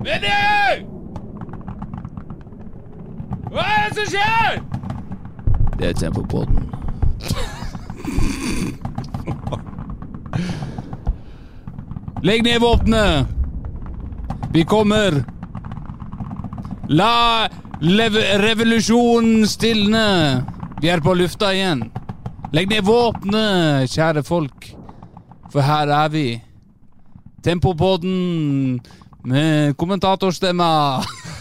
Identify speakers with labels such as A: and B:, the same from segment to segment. A: Linje! Hva er det som skjer?
B: Det er Tempopodden. Legg ned våpenet! Vi kommer! La lev revolusjonen stilne! Vi er på lufta igjen. Legg ned våpenet, kjære folk, for her er vi. Tempopodden med kommentatorstemma.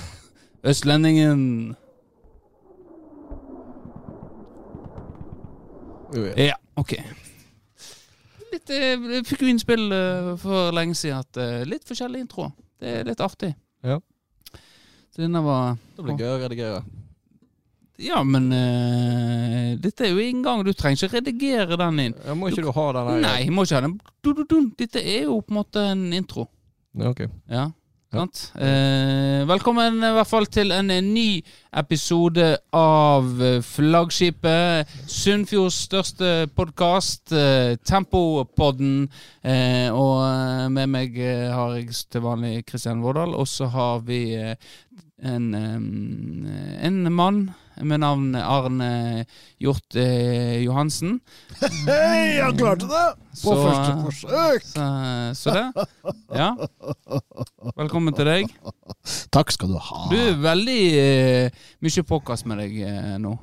B: Østlendingen. Ja, ok. Litt, eh, jeg fikk jo innspill eh, for lenge siden at eh, litt forskjellige introer. Det er litt artig.
C: Ja.
B: Så denne var
C: Det blir gøy å redigere.
B: Ja, men eh, dette er jo inngang. Du trenger ikke redigere den inn.
C: Ja, må ikke du ha den her?
B: Nei, må ikke ha den. Du, du, du. Dette er jo på en måte en intro.
C: Ja, Mm. ok.
B: Ja.
C: Ja.
B: Sant? Eh, velkommen i hvert fall til en eh, ny episode av eh, Flaggskipet. Sunnfjords største podkast, eh, Tempopodden. Eh, og eh, med meg eh, har jeg s- til vanlig Kristian Vårdal, og så har vi eh, en, eh, en mann med navn Arne Hjort eh, Johansen.
D: Hei, han klarte det!
B: Så,
D: På første
B: eh,
D: forsøk.
B: Så, så det. Ja. Velkommen til deg.
D: Takk skal du ha.
B: Du er veldig eh, mye påkast med deg eh, nå.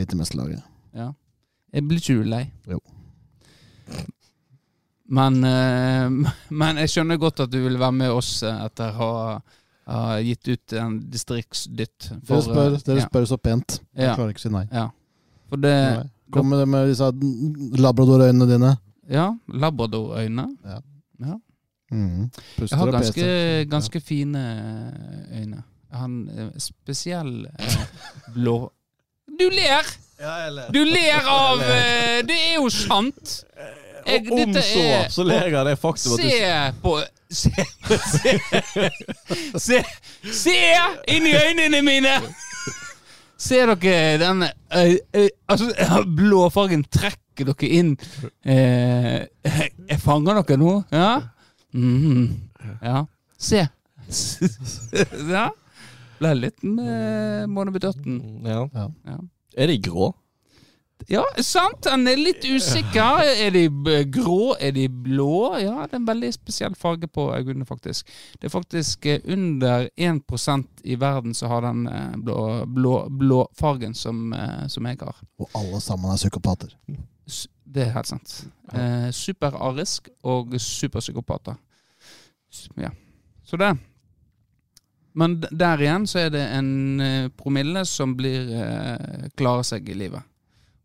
D: Lite mesterlaget.
B: Ja. Jeg blir ikke du lei?
D: Jo.
B: Men, eh, men jeg skjønner godt at du vil være med oss eh, etter å ha, ha gitt ut en distriktsdytt.
D: Dere spør,
B: eh,
D: dere
B: ja.
D: spør så pent. Jeg
B: Ja.
D: klarer ikke å si nei.
B: ja. For det
D: nei. Kom med det med disse labradorøynene dine.
B: Ja, labradorøyne.
D: Mm. Puster
B: Jeg har
D: og
B: ganske,
D: peser.
B: ganske fine øyne. Jeg har en eh, spesiell eh, blå Du ler!
C: Ja, eller
B: Du ler av eh, Det er jo sant! Jeg-
C: Og om
B: dette
C: så,
B: er-
C: så ler jeg av det faktum at du
B: Se på Se Se, se, se inn i øynene mine! Ser dere den øy, øy, altså, Blåfargen trekker dere inn. Eh, jeg fanger dere nå? Ja? Mhm. ja. Se. Ja. Ble litt eh, månebedørten.
C: ja.
B: Ja.
C: Er de grå?
B: Ja, sant. Han er litt usikker. Er de b- grå? Er de blå? Ja, det er en veldig spesiell farge på øynene, faktisk. Det er faktisk eh, under 1 i verden som har den eh, blå, blå, blå fargen som, eh, som jeg har.
D: Og alle sammen er psykopater.
B: S- Det er helt sant. Eh, Superarisk og superpsykopater. S- Ja. Så det. Men d- der igjen så er det en eh, promille som blir eh, klarer seg i livet.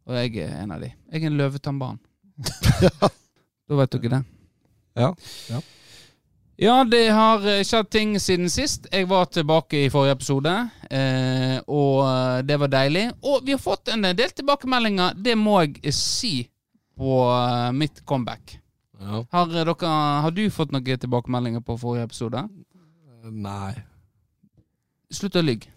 B: Og jeg er en av de. Jeg er en løvetannbarn. da vet dere det.
C: Ja.
D: Ja.
B: Ja, det har eh, skjedd ting siden sist. Jeg var tilbake i forrige episode, eh, og eh, det var deilig. Og vi har fått en del tilbakemeldinger, det må jeg eh, si, på eh, mitt comeback.
C: Ja.
B: Har, eh, dere, har du fått noen tilbakemeldinger på forrige episode?
C: Eh, Nei.
B: Slutt å lyve.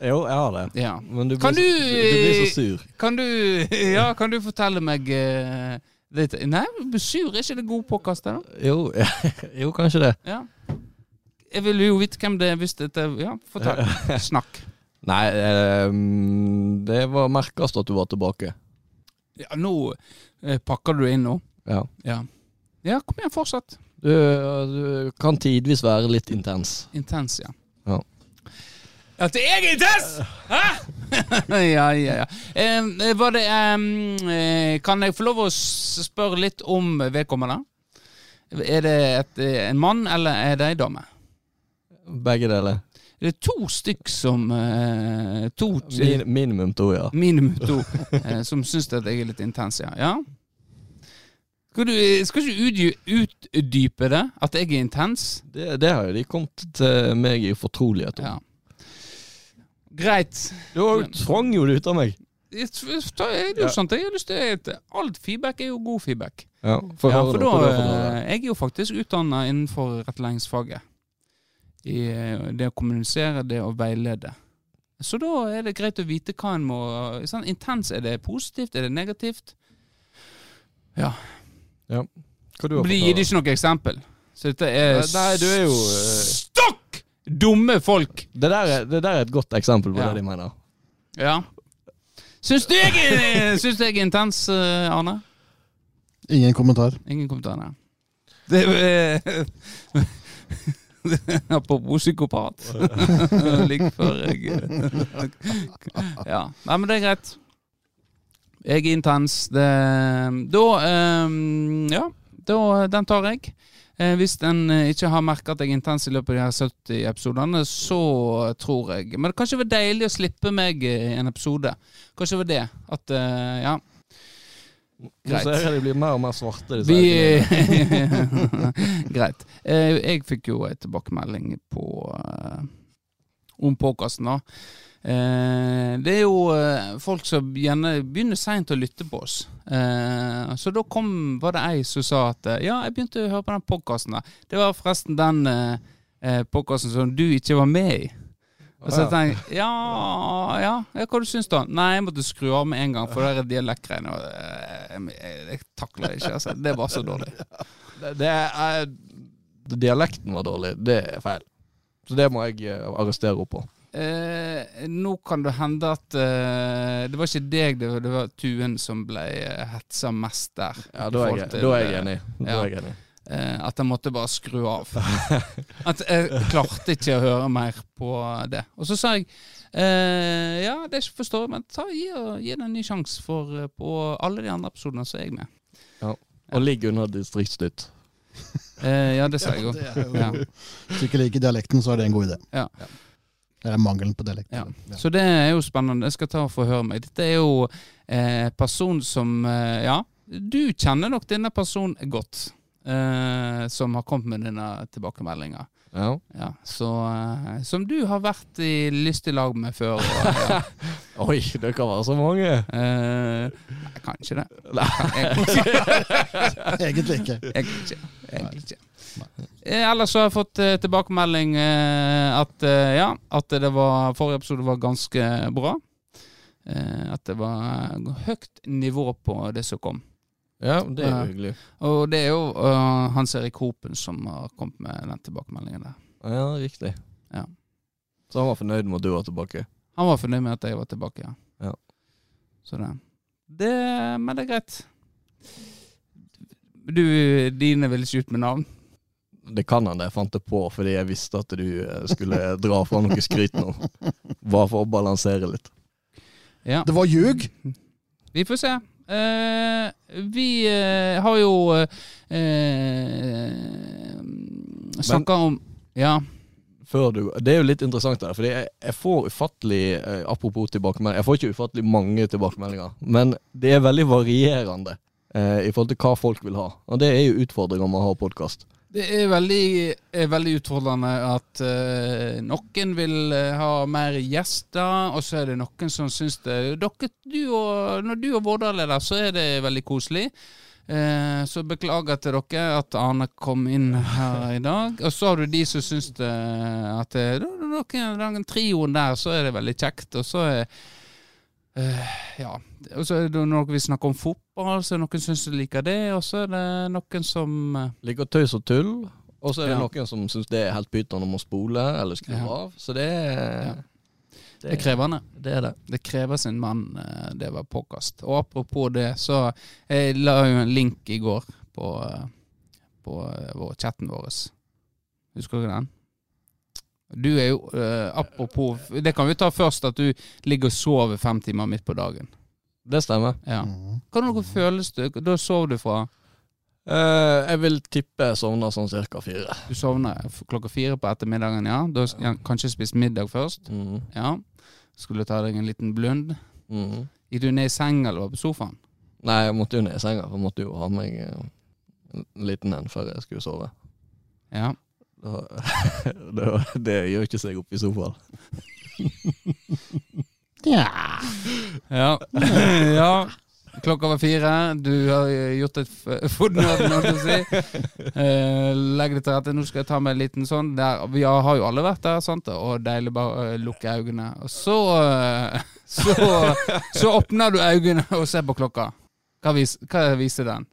C: Jo, jeg har det.
B: Ja.
C: Men du blir,
B: Kan
C: så,
B: du-
C: du blir så sur.
B: Kan du, ja, kan du fortelle meg eh, litt Nei, du blir sur. Er ikke det god påkast, det, da?
C: Jo, jo kanskje det.
B: Ja. Jeg ville jo vite hvem det er hvis dette Ja, fortell. Snakk.
C: Nei, eh, det var merkast at du var tilbake.
B: Ja, nå eh, pakker du inn nå.
C: Ja.
B: Ja. ja, kom igjen, fortsett.
C: Du, eh, du kan tidvis være litt intens.
B: Intens, ja.
C: Ja.
B: At jeg er intens?! Hæ?! ja, ja, ja. Eh, var det em, eh, Kan jeg få lov å s- spørre litt om vedkommende? Er det et, eh, en mann, eller er det ei dame?
C: Begge deler.
B: Det er to stykk som eh, To
C: Min, minimum to, ja.
B: Minimum to. Eh, som syns at jeg er litt intens, ja. ja. Skal du eh, skal ikke utdy- utdype det? At jeg er intens?
C: Det, det har jo de kommet til meg i fortrolighet om.
B: Ja. Greit.
C: Du tvang jo det ut av meg.
B: Jeg t- ta- er det jo
C: Ja.
B: sant? Jeg har lyst til at Alt feedback er jo god feedback.
C: Ja, for,
B: Ja, for da, eh, jeg er jo faktisk utdanna innenfor rettleiingsfaget. I eh, det å kommunisere, det å veilede. Så da er det greit å vite hva en må sånn, Intens, er det positivt, er det negativt?
C: Hva du
B: Det
C: har
B: gir ikke noe eksempel. Så dette er
C: Nei, du er jo, eh,
B: Stopp! Dumme folk!
C: Det der, er- det der er et godt eksempel på
B: Ja.
C: det de mener.
B: Ja. Syns du jeg, er- syns du jeg er intens, eh, Arne?
D: Ingen kommentar.
B: Ingen kommentar, nei. Det eh, Apropos psykopat. Like før jeg eh, Ja. Nei, men det er greit. Jeg er intens. Det Da eh, Ja, da, den tar jeg. Eh, hvis en eh, ikke har merka at jeg er intens i løpet av de her 70 episodene, så tror jeg Men kanskje det var deilig å slippe meg eh, en episode. Kanskje det var det. At eh, Ja.
C: Nå
B: Greit.
C: ser jeg de blir mer og mer svarte. disse her tingene.
B: Vi Greit. Eh, jeg fikk jo en tilbakemelding på eh, om podkasten, da. Eh, det er jo eh, folk som gjerne begynner seint å lytte på oss. Eh, så da kom, var det ei som sa at eh, ja, jeg begynte å høre på den podkasten der. Det var forresten den eh, eh, podkasten som du ikke var med i. Og så
C: Å, ja.
B: tenkte jeg ja, ja, ja, hva du syns da? Nei, jeg måtte skru av med en gang, for det er dialektgreiene. og, eh, Jeg, jeg takler det ikke, altså. Det var så dårlig.
C: Det, det er, eh, dialekten var dårlig. Det er feil. Så det må jeg eh, arrestere henne på.
B: Eh, nå kan det hende at eh, det var ikke deg, det, var- det var Tuen som ble eh, hetsa mest der.
C: Ja, da er jeg,
B: I forhold til,
C: da er jeg enig. Da
B: ja.
C: er jeg enig.
B: Eh, at jeg måtte bare skru av. At jeg klarte ikke å høre mer på det. Og så sa jeg eh, ja, det er ikke forstår, jeg, men ta, gi, gi det en ny sjanse, for eh, på alle de andre episodene så er jeg med.
C: Og ligg unna distriktsnytt.
B: Eh, ja, det sa jeg òg. Ja.
D: Hvis du ikke liker dialekten, så er det en god idé.
B: Ja.
D: Det er mangelen på dialekt.
B: Ja. Så det er jo spennende. Jeg skal ta og forhøre meg. Dette er jo eh, person som eh, Ja, du kjenner nok denne personen godt. Eh, som har kommet med denne tilbakemeldinga.
C: Ja.
B: Ja, så, eh, som du har vært i lystig lag med før. Og, ja.
C: Oi, det kan være så mange!
B: eh, nei, kanskje det.
C: Nei.
B: Egentlig,
D: Egentlig ikke.
B: egentlig ikke. Egentlig ikke. Eh, Ellers så har jeg fått eh, tilbakemelding eh, at, eh, ja, at det var, forrige episode var ganske bra. Eh, at det var høyt nivå på det som kom.
C: Ja, det er
B: Ja.
C: jo hyggelig.
B: Og det er jo eh, Hans Erik Hopen som har kommet med den tilbakemeldingen der.
C: Ja, riktig.
B: Ja.
C: Så han var fornøyd med at du var tilbake.
B: Han var fornøyd med at jeg var tilbake, ja.
C: Ja.
B: Så det. det Men det er greit. Du, dine vil ikke ut med navn?
C: Det kan han, det. Jeg fant det på fordi jeg visste at du eh, skulle dra fra noe skryt nå. Bare for å balansere litt.
B: Ja.
D: Det var ljug!
B: Vi får se. Eh, vi eh, har jo eh, eh, snakka om Ja.
C: Før du, det er jo litt interessant, der, fordi jeg, jeg får ufattelig eh, Apropos tilbakemeldinger. Jeg får ikke ufattelig mange tilbakemeldinger, men det er veldig varierende eh, i forhold til hva folk vil ha. Og det er jo utfordringa med å ha podkast.
B: Det er veldig, er veldig utfordrende at eh, noen vil eh, ha mer gjester, og så er det noen som syns det Dere, du og, Når du og Vårdal er der, så er det veldig koselig. Eh, så beklager til dere at Arne kom inn her i dag. Og så har du de som syns det at eh, da- da- dere- Den trioen der, så er det veldig kjekt. Og så er eh, ja. Og så er det når vi snakker om fotball, så er det noen som syns de liker det, og så er det noen som eh,
C: Liker tøys og tull. Og så er det
B: Ja.
C: noen som syns det er helt pyton om å spole eller skru
B: Ja.
C: av. Så det er
B: Ja. Det
C: det,
B: er krevende.
C: det er det.
B: Det krever sin mann, eh, det var påkast. Og apropos det, så jeg la jo en link i går på, eh, på eh, vår, chatten vår. Husker du ikke den? Du er jo, eh, apropos Det kan vi ta først, at du ligger og sover fem timer midt på dagen.
C: Det stemmer.
B: Ja.
D: Mhm.
B: Hvordan føles det? Da sov du fra
C: Eh, jeg vil tippe jeg sovner sånn cirka fire.
B: Du sovner f- klokka fire på ettermiddagen, ja. Da s- ja, kanskje spist middag først.
C: Mhm.
B: Ja. Skulle ta deg en liten blund.
C: Mhm.
B: Gikk du ned i seng eller var på sofaen?
C: Nei, jeg måtte jo ned i senga. for Jeg måtte jo ha meg eh, en liten en før jeg skulle sove.
B: Ja.
C: Da, da, det gjør ikke seg opp i sofaen.
B: Ja. ja. Klokka var fire. Du har eh, gjort et f- fodnød, må du si. Eh, Legg det til rette. Nå skal jeg ta meg en liten sånn. Der, vi har har jo alle vært der, sant? og deilig bare eh, lukke øynene. Og så, eh, så Så åpner du øynene og ser på klokka. Hva, vis, hva viser den?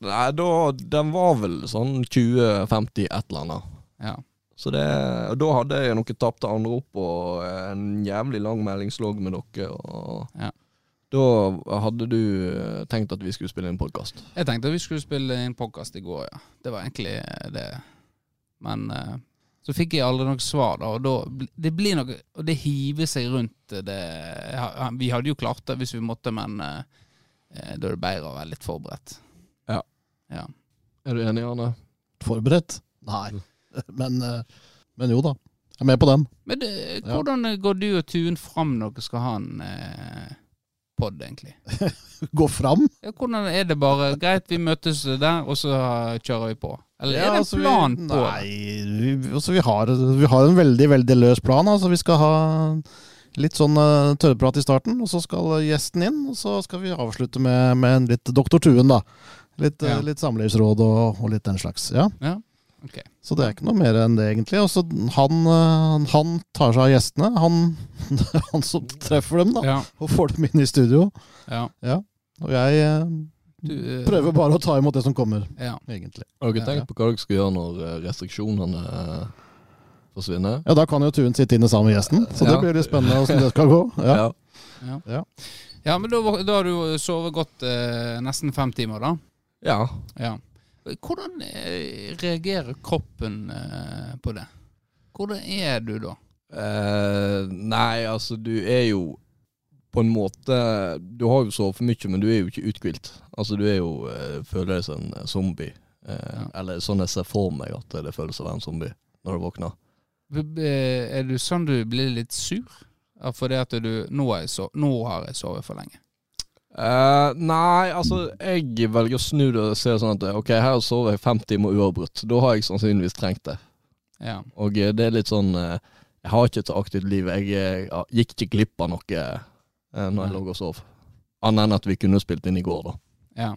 C: Nei, da Den var vel sånn 20-50 et eller annet.
B: Ja.
C: Så det, og da hadde jeg noen tapte anrop og en jævlig lang meldingslogg med dere. Og
B: Ja.
C: Da hadde du eh, tenkt at vi skulle spille en podkast.
B: Jeg tenkte at vi skulle spille inn podkast i går, ja. Det var egentlig eh, det. Men eh, så fikk jeg aldri noe svar, da. Og da, bl- det blir noe Og det hiver seg rundt eh, det ha- ha- Vi hadde jo klart det hvis vi måtte, men eh, eh, da er det bedre å være litt forberedt.
C: Ja.
B: Ja.
C: Er du enig, Arne?
D: Forberedt? Nei.
B: Mm.
D: Men, eh, men jo da. Jeg er med på den.
B: Men det, hvordan går du og Tuen fram når dere skal ha en eh, pod, egentlig?
D: Gå fram.
B: Ja, hvordan er det bare Greit, vi møtes der, og så kjører vi på. Eller
D: Ja,
B: er det
D: altså,
B: en plan
D: vi,
B: på det?
D: Nei, vi, altså, vi, har, vi har en veldig, veldig løs plan. Altså, vi skal ha litt sånn uh, tørrprat i starten, og så skal eh, gjesten inn. Og så skal vi avslutte med, med en litt Doktor Tuen, da. Litt, eh,
B: Ja.
D: litt samlivsråd og, og litt den slags. Ja.
B: Ja, ok.
D: Så det er ikke noe mer enn det, egentlig. Og så han, eh, han tar seg av gjestene. Han, han som treffer dem, da.
B: Ja,
D: Og får dem inn i studio.
B: ja.
D: Og jeg eh,
B: Du, eh,
D: prøver bare å ta imot det som kommer,
B: Ja.
D: egentlig.
C: Har dere
B: Ja,
C: tenkt
B: ja.
C: på hva dere skal gjøre når eh, restriksjonene eh, forsvinner?
D: Ja, da kan jo Tuen sitte inne sammen med gjesten, så det
C: Ja.
D: blir litt spennende åssen det skal gå. Ja.
C: Ja.
B: Ja,
D: Ja.
B: ja men da, var- da har du jo sovet godt eh, nesten fem timer, da.
C: ja.
B: Ja. Hvordan eh, reagerer kroppen eh, på det? Hvordan er du da?
C: Eh, nei, altså, du er jo på en måte Du har jo sovet for mye, men du er jo ikke uthvilt. Altså, du er jo eh, Føler deg som en zombie. Eh, Eller sånn jeg ser for meg at det føles å være en zombie når du våkner.
B: B- b- Er du sånn du blir litt sur? Ja, Fordi at du Nå, har jeg sov, nå har jeg sovet for lenge.
C: Eh, nei, altså, jeg velger å snu det og se sånn at ok, her sover jeg fem timer uavbrutt. Da har jeg sannsynligvis trengt det.
B: Ja.
C: Og eh, det er litt sånn eh, Jeg har ikke et så aktivt liv. Jeg eh, ja, gikk ikke glipp av noe eh, når jeg
B: Nei.
C: lå og sov. Annet enn at vi kunne spilt inn i går, da.
B: ja.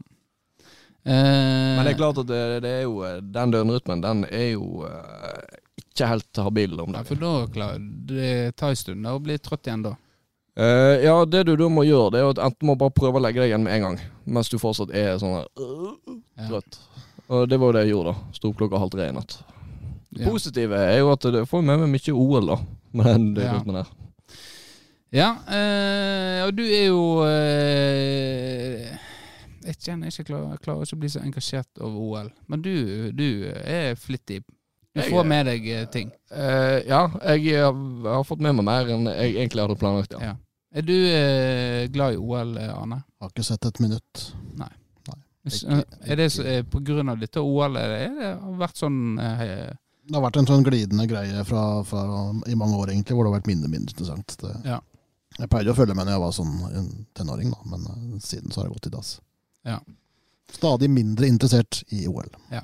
B: Eh,
C: Men det er klart at det, det er jo eh, den døgnrytmen, den er jo eh, ikke helt habil om
B: ja,
C: dagen.
B: For da klar, det tar en stund da, å bli trøtt igjen da.
C: Eh, ja, det du da må gjøre, det er jo at enten må bare prøve å legge deg igjen med en gang, mens du fortsatt er sånn her, øh,
B: Ja.
C: trøtt. Og det var jo det jeg gjorde, da. Sto opp klokka halv tre i natt. Det
B: Ja.
C: positive er jo at det får med meg mye OL, da, med den døgnrytmen her.
B: Ja, eh, og du er jo eh, Jeg kjenner jeg ikke klar, jeg klarer ikke å bli så engasjert over OL, men du, du er flittig. Du
C: Jeg
B: får
C: er-
B: med deg eh, ting.
C: Eh, ja, jeg, har- har fått med meg mer enn jeg egentlig hadde planlagt, ja.
B: Ja. Er du eh, glad i OL, eh, Arne?
D: Har ikke sett et minutt.
B: Hvis,
D: Ikke-
B: eh, Er det så, eh, på grunn av dette OL, er det, er det har vært sånn eh,
D: Det har vært en sånn glidende greie fra, fra i mange år, egentlig, hvor det har vært mindre mindre interessant. Det,
B: Ja.
D: Jeg pleide å følge med når jeg var sånn en tenåring, da, men eh, siden så har det gått i dass.
B: Ja.
D: Stadig mindre interessert i OL.
B: Ja.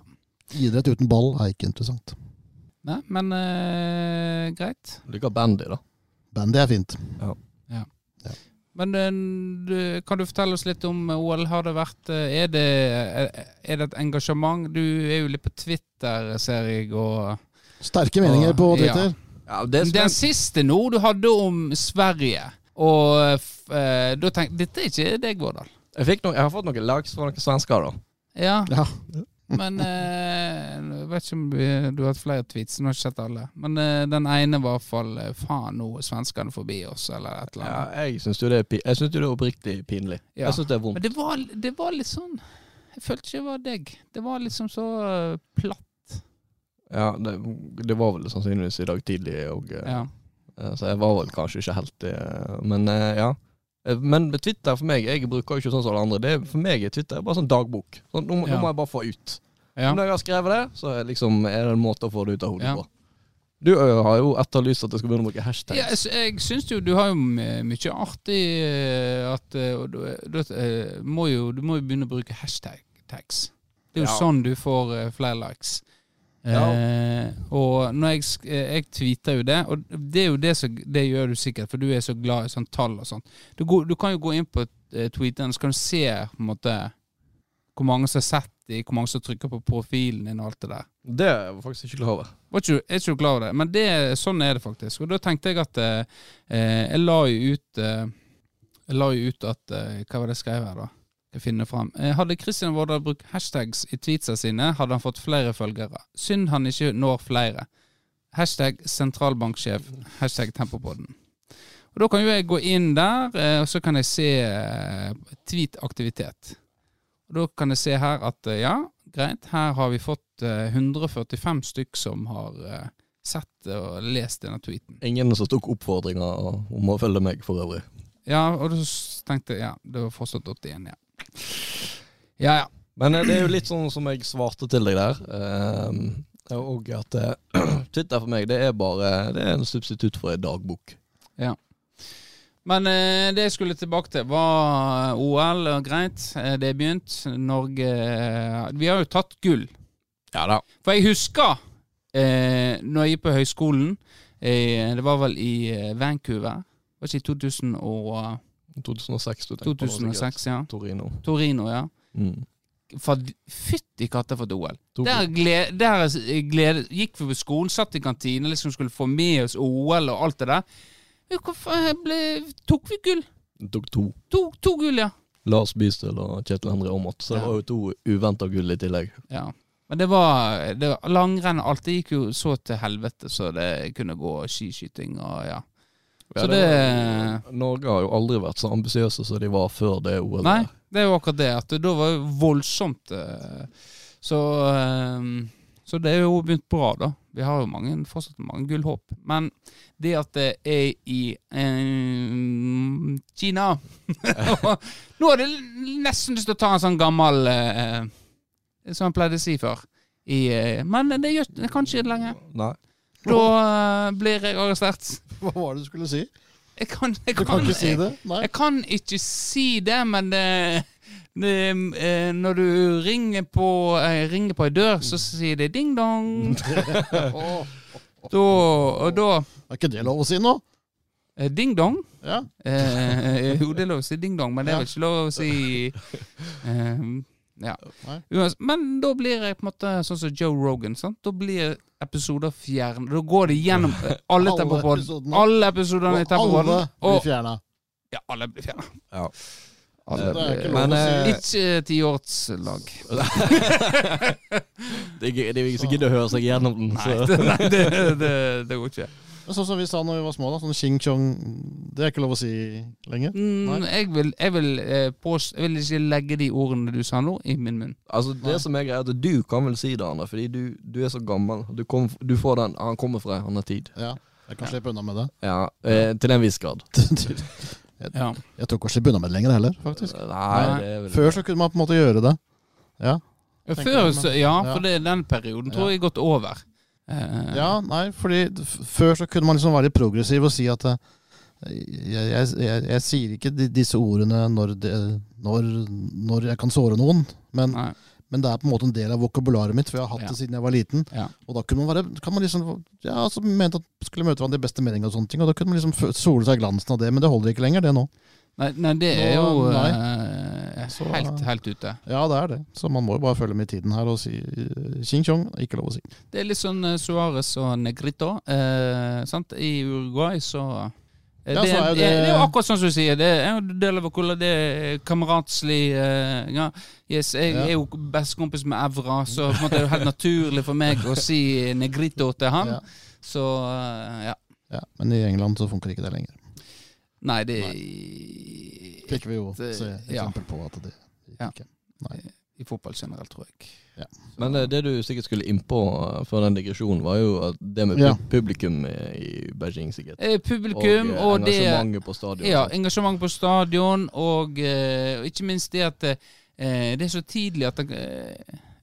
D: Idrett uten ball er ikke interessant.
B: Nei, men eh, greit.
C: Liker bandy, da.
D: Bandy er fint.
B: Men eh, du, kan du fortelle oss litt om OL? Har det vært eh, Er det, er- er det et engasjement? Du er jo litt på Twitter, ser jeg. Og
D: Sterke meninger
B: Åh,
D: på
B: ja.
D: Twitter.
C: Ja, det er
B: den
C: spent.
B: siste nå du hadde om Sverige. Og eh, f- eh, da tenkte Dette er ikke deg, Vårdal.
C: Jeg, fikk noe, jeg har fått noen likes fra noen svensker, da.
B: Ja,
D: Ja.
B: men eh, Jeg vet ikke om vi- du har hatt flere tweets, nå har jeg ikke sett alle. Men eh, den ene var i hvert fall eh, Faen, nå er svenskene forbi oss, eller et eller
C: Ja,
B: annet.
C: jeg syns jo det er, pi- jeg synes jo det er oppriktig pinlig.
B: Ja.
C: Jeg syns det er vondt.
B: Men det var, det var litt sånn Jeg følte ikke det var deg. Det var liksom så eh, platt.
C: Ja, det, det var vel sannsynligvis i dag tidlig, og, eh,
B: Ja.
C: eh, så jeg var vel kanskje ikke helt det. eh, Men eh, ja. Eh, Men med Twitter for meg, jeg bruker jo ikke sånn som alle andre. Det, er- for meg er Twitter bare sånn dagbok. Sånn, nå, må- nå
B: Ja.
C: må jeg bare få ut.
B: Ja.
C: Når jeg har skrevet det, så er, liksom, er det en måte å få det ut av hodet
B: Ja.
C: på. Du ø, har jo etterlyst at jeg skal begynne å bruke hashtags.
B: Ja, jeg, sy- jeg syns jo du har jo m- mye artig eh, at eh, og Du, du, eh, må jo, du må jo begynne å bruke hashtag tags. Det er jo
C: Ja.
B: sånn du får eh, flere likes.
C: Ja.
B: Eh, og når jeg, sk- eh, jeg tweeter jo det, og det er jo det som Det gjør du sikkert, for du er så glad i sånn tall og sånn. Du, går- du kan jo gå inn på eh, tweeteren, så kan du se på en måte hvor mange som har sett de, hvor mange som trykker på profilen din og alt det der.
C: Det er jeg faktisk ikke klar over.
B: Var ikke, er ikke du klar over det? Men det, sånn er det faktisk. Og da tenkte jeg at eh, eh, jeg la jo ut eh, Jeg la jo ut at eh, Hva var det jeg skrev her, da? Skal jeg finne fram. Eh, hadde Christian Vårdal brukt hashtags i tweetsa sine, hadde han fått flere følgere. Synd han ikke når flere. Hashtag sentralbanksjef. Hashtag Tempopodden. Og Da kan jo jeg gå inn der, eh, og så kan jeg se eh, tweet-aktivitet. Og Da kan jeg se her at eh, ja, greit, her har vi fått eh, 145 stykk som har eh, sett og lest denne tweeten.
C: Ingen som tok oppfordringa om å følge meg, for øvrig.
B: Ja, og da s- tenkte jeg ja, det var fortsatt 81, ja. Ja ja.
C: Men eh, det er jo litt sånn som jeg svarte til deg der. eh, og at eh, Twitter for meg, det er bare Det er en substitutt for en dagbok.
B: Men eh, det jeg skulle tilbake til, var eh, OL. og Greit, eh, det er begynt. Norge eh, Vi har jo tatt gull.
C: Ja da.
B: For jeg husker eh, når jeg gikk på høyskolen eh, Det var vel i eh, Vancouver. Var ikke i 2000 og,
C: 2006, du tenker på, sikkert.
B: 2006, ja.
C: Torino.
B: Torino, ja.
C: Mm.
B: For- Fytti katta for et OL.
C: To-
B: Der, gled, der s- glede, gikk vi på skolen, satt i kantina, liksom skulle få med oss OL og alt det der. Jo, Hvorfor ble, tok vi gull?
C: Tok to.
B: To, to gull, ja.
C: Lars Bystøl og Kjetil Henry Aamodt. Så det
B: Ja.
C: var jo to uventa gull i tillegg.
B: ja. Men det var, det var langrenn og alt. Det gikk jo så til helvete så det kunne gå skiskyting og ja. Så
C: Ja,
B: det-
C: var- Norge har jo aldri vært så ambisiøse som de var før det OL.
B: Nei, det er jo akkurat det. At det da var jo voldsomt. eh, Så, eh, så det er jo begynt bra, da. Vi har jo mange, fortsatt mange gullhåp. Men det at det er i eh, Kina og Nå har det nesten lyst til å ta en sånn gammel eh, Som han pleide å si før. I, eh, men det gjør det kan ikke lenger.
C: Nei.
B: Da eh, blir jeg arrestert.
D: Hva var det du skulle si?
B: Jeg kan, jeg
D: Du kan ikke si det? Nei.
B: jeg kan ikke si det, men det, det, eh, når du ringer på, eh, ringer på ei dør, så sier det ding-dong. da, og da
D: Er ikke det lov å si nå?
B: eh, Ding-dong?
D: Ja.
B: Eh, jo, det er lov å si ding-dong, men det er
D: Ja.
B: vel ikke lov å si eh, Ja.
D: Nei.
B: Uans- Men da blir jeg på en måte sånn som Joe Rogan. sant? Da blir episoder fjernet. Da går det gjennom eh, alle
D: Alle
B: tempopodene.
D: episodene.
B: Alle episodene i
D: Og alle
B: tempopodene.
D: blir
B: Og
D: fjerna.
B: ja, alle blir fjernet.
C: Ja.
B: Alle
D: Det er ikke
B: blir-
C: Men,
D: lov å
C: eh,
D: si.
B: Ikke tiårslag.
C: Det er ikke- det er jo ingen som gidder å høre seg gjennom den.
B: Nei,
C: Så.
B: det, nei det, det, det går ikke.
D: Men Sånn som vi sa når vi var små, da. Sånn ching-chong Det er ikke lov å si lenger.
B: Mm,
D: Nei.
B: jeg, vil, jeg, vil, eh, pås- jeg vil ikke legge de ordene du sa nå, i min munn.
C: Altså Det som er greia, er at du kan vel si det, Anne, fordi du, du er så gammel. Du, kom, du får den 'han kommer fra en annen tid'.
D: Ja, jeg kan slippe unna med det.
C: Ja, eh, Til en viss grad.
D: jeg
B: Ja.
D: tror ikke å slippe unna med det lenger heller, faktisk.
C: Nei, det er vel
D: Før så kunne man på en måte gjøre det. Tenker
B: Før,
D: jeg meg.
B: så, ja,
D: Ja.
B: for det, den perioden tror
D: Ja.
B: jeg er gått over. Eh,
D: Ja, nei, fordi f- før så kunne man liksom være litt progressiv og si at eh, jeg, jeg, jeg, jeg sier ikke di- disse ordene når, det, når, når jeg kan såre noen, men,
B: Nei.
D: men det er på en måte en del av vokabularet mitt, for jeg har hatt
B: Ja.
D: det siden jeg var liten.
B: Ja.
D: Og da kunne man være, kan man liksom, ja, altså mente at skulle møte hverandre i beste mening og sånne ting, og da kunne man liksom f- sole seg i glansen av det, men det holder ikke lenger det nå.
B: Nei, nei, det er
D: Nå,
B: jo
D: nei.
B: eh,
D: Så-
B: helt, helt ute.
D: Ja, det er det. Så man må jo bare følge med i tiden her og si eh, Ching chong, ikke lov å si.
B: Det er litt sånn eh, Suárez og Negrito. Eh, sant? I Uruguay så eh,
D: Ja,
B: det,
D: så er
B: er,
D: jo
B: det,
D: det-
B: er jo akkurat sånn som du sier. Det er jo en del av hvordan det er kameratslig eh, ja. yes, Jeg
D: Ja.
B: er jo bestekompis med Evra, så på en måte er det jo helt naturlig for meg å si Negrito til han.
D: Ja.
B: Så eh, ja.
D: Ja, men i England så funker ikke det lenger.
B: Nei, det er
D: Nei.
B: i,
D: Fikk vi jo
B: Det-
D: se
B: ja.
D: eksempel på at det
B: Ja.
D: ikke
B: i fotball generelt, tror jeg.
C: Men eh, det du sikkert skulle innpå eh, før den digresjonen, var jo at det med pu-
D: Ja.
C: publikum eh, i Beijing, sikkert.
B: Eh, publikum
C: eh,
B: og, det
C: engasjementet på stadion.
B: Ja, engasjement på stadion, og, eh, og ikke minst det at eh, det er så tidlig at eh,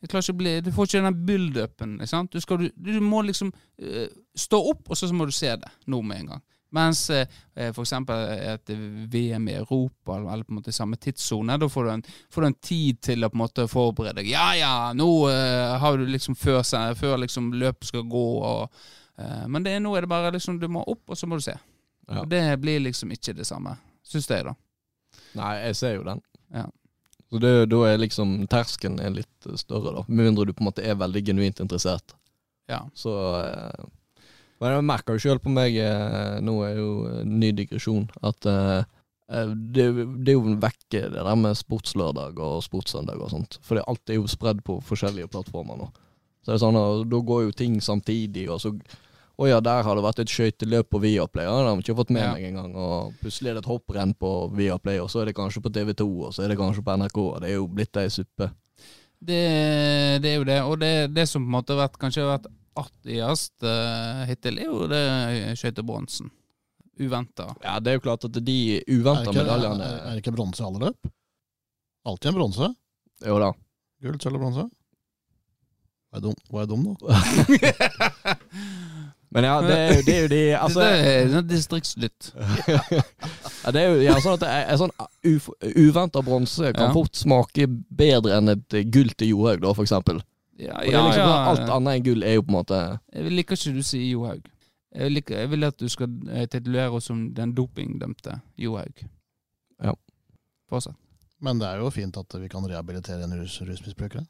B: jeg klarer ikke å bli, Du får ikke den build-upen. ikke sant? Du, skal, du, du må liksom eh, stå opp, og så må du se det nå med en gang. Mens eh, eh, for eksempel et VM i Europa, eller på en måte i samme tidssone, da får du, en, får du en tid til å på en måte forberede deg. Ja ja, nå eh, har du liksom før, seg- før liksom løpet skal gå og eh, Men det, er- nå er det bare liksom du må opp, og så må du se.
C: Ja.
B: Og det blir liksom ikke det samme, syns jeg, da.
C: Nei, jeg ser jo den.
B: Ja.
C: Så det, da er liksom terskelen er litt eh, større, da. Med mindre du på en måte er veldig genuint interessert.
B: Ja.
C: Så eh, Men jeg merker jo sjøl på meg, eh, nå er jo en ny digresjon, at eh, eh, det, det er jo vekke det der med sportslørdag og sportssøndag og sånt. For det, alt er jo spredd på forskjellige plattformer nå. Så det er sånn, eh, Da går jo ting samtidig, og så Å ja, der har det vært et skøyteløp på Viaplay. Ja, det har de ikke fått med
B: Ja.
C: meg engang. Og plutselig er det et hopprenn på Viaplay, og så er det kanskje på TV2, og så er det kanskje på NRK. og Det er jo blitt ei suppe.
B: Det, det er jo det. Og det, det som på en måte har vært, kanskje har vært artigst eh, hittil, er jo det skøytebronsen. Uventa.
C: Ja, det er jo klart at de
D: Er det
C: uventa
D: ikke, er, er
C: medaljene
D: det ikke bronse i alle løp? Alltid en bronse.
C: Jo da.
D: Gull, sølv og bronse. Var jeg dum, var jeg dum nå?
C: Men ja, det er jo, det er jo de altså,
B: det er sånn distriktsnytt.
C: Ja, det er jo ja, sånn at det er, er sånn uf, Uventa bronse kan
B: Ja.
C: fort smake bedre enn et gull til Johaug, da, for eksempel.
B: Ja,
C: Og det
B: ja,
C: er liksom,
B: ja.
C: Alt annet enn gull er jo på en måte
B: Jeg liker ikke du sier Johaug. Jeg, liker, jeg vil at du skal eh, titulere oss som den dopingdømte Johaug.
C: Ja.
B: Fortsett.
D: Men det er jo fint at vi kan rehabilitere en rus, rusmisbrukere.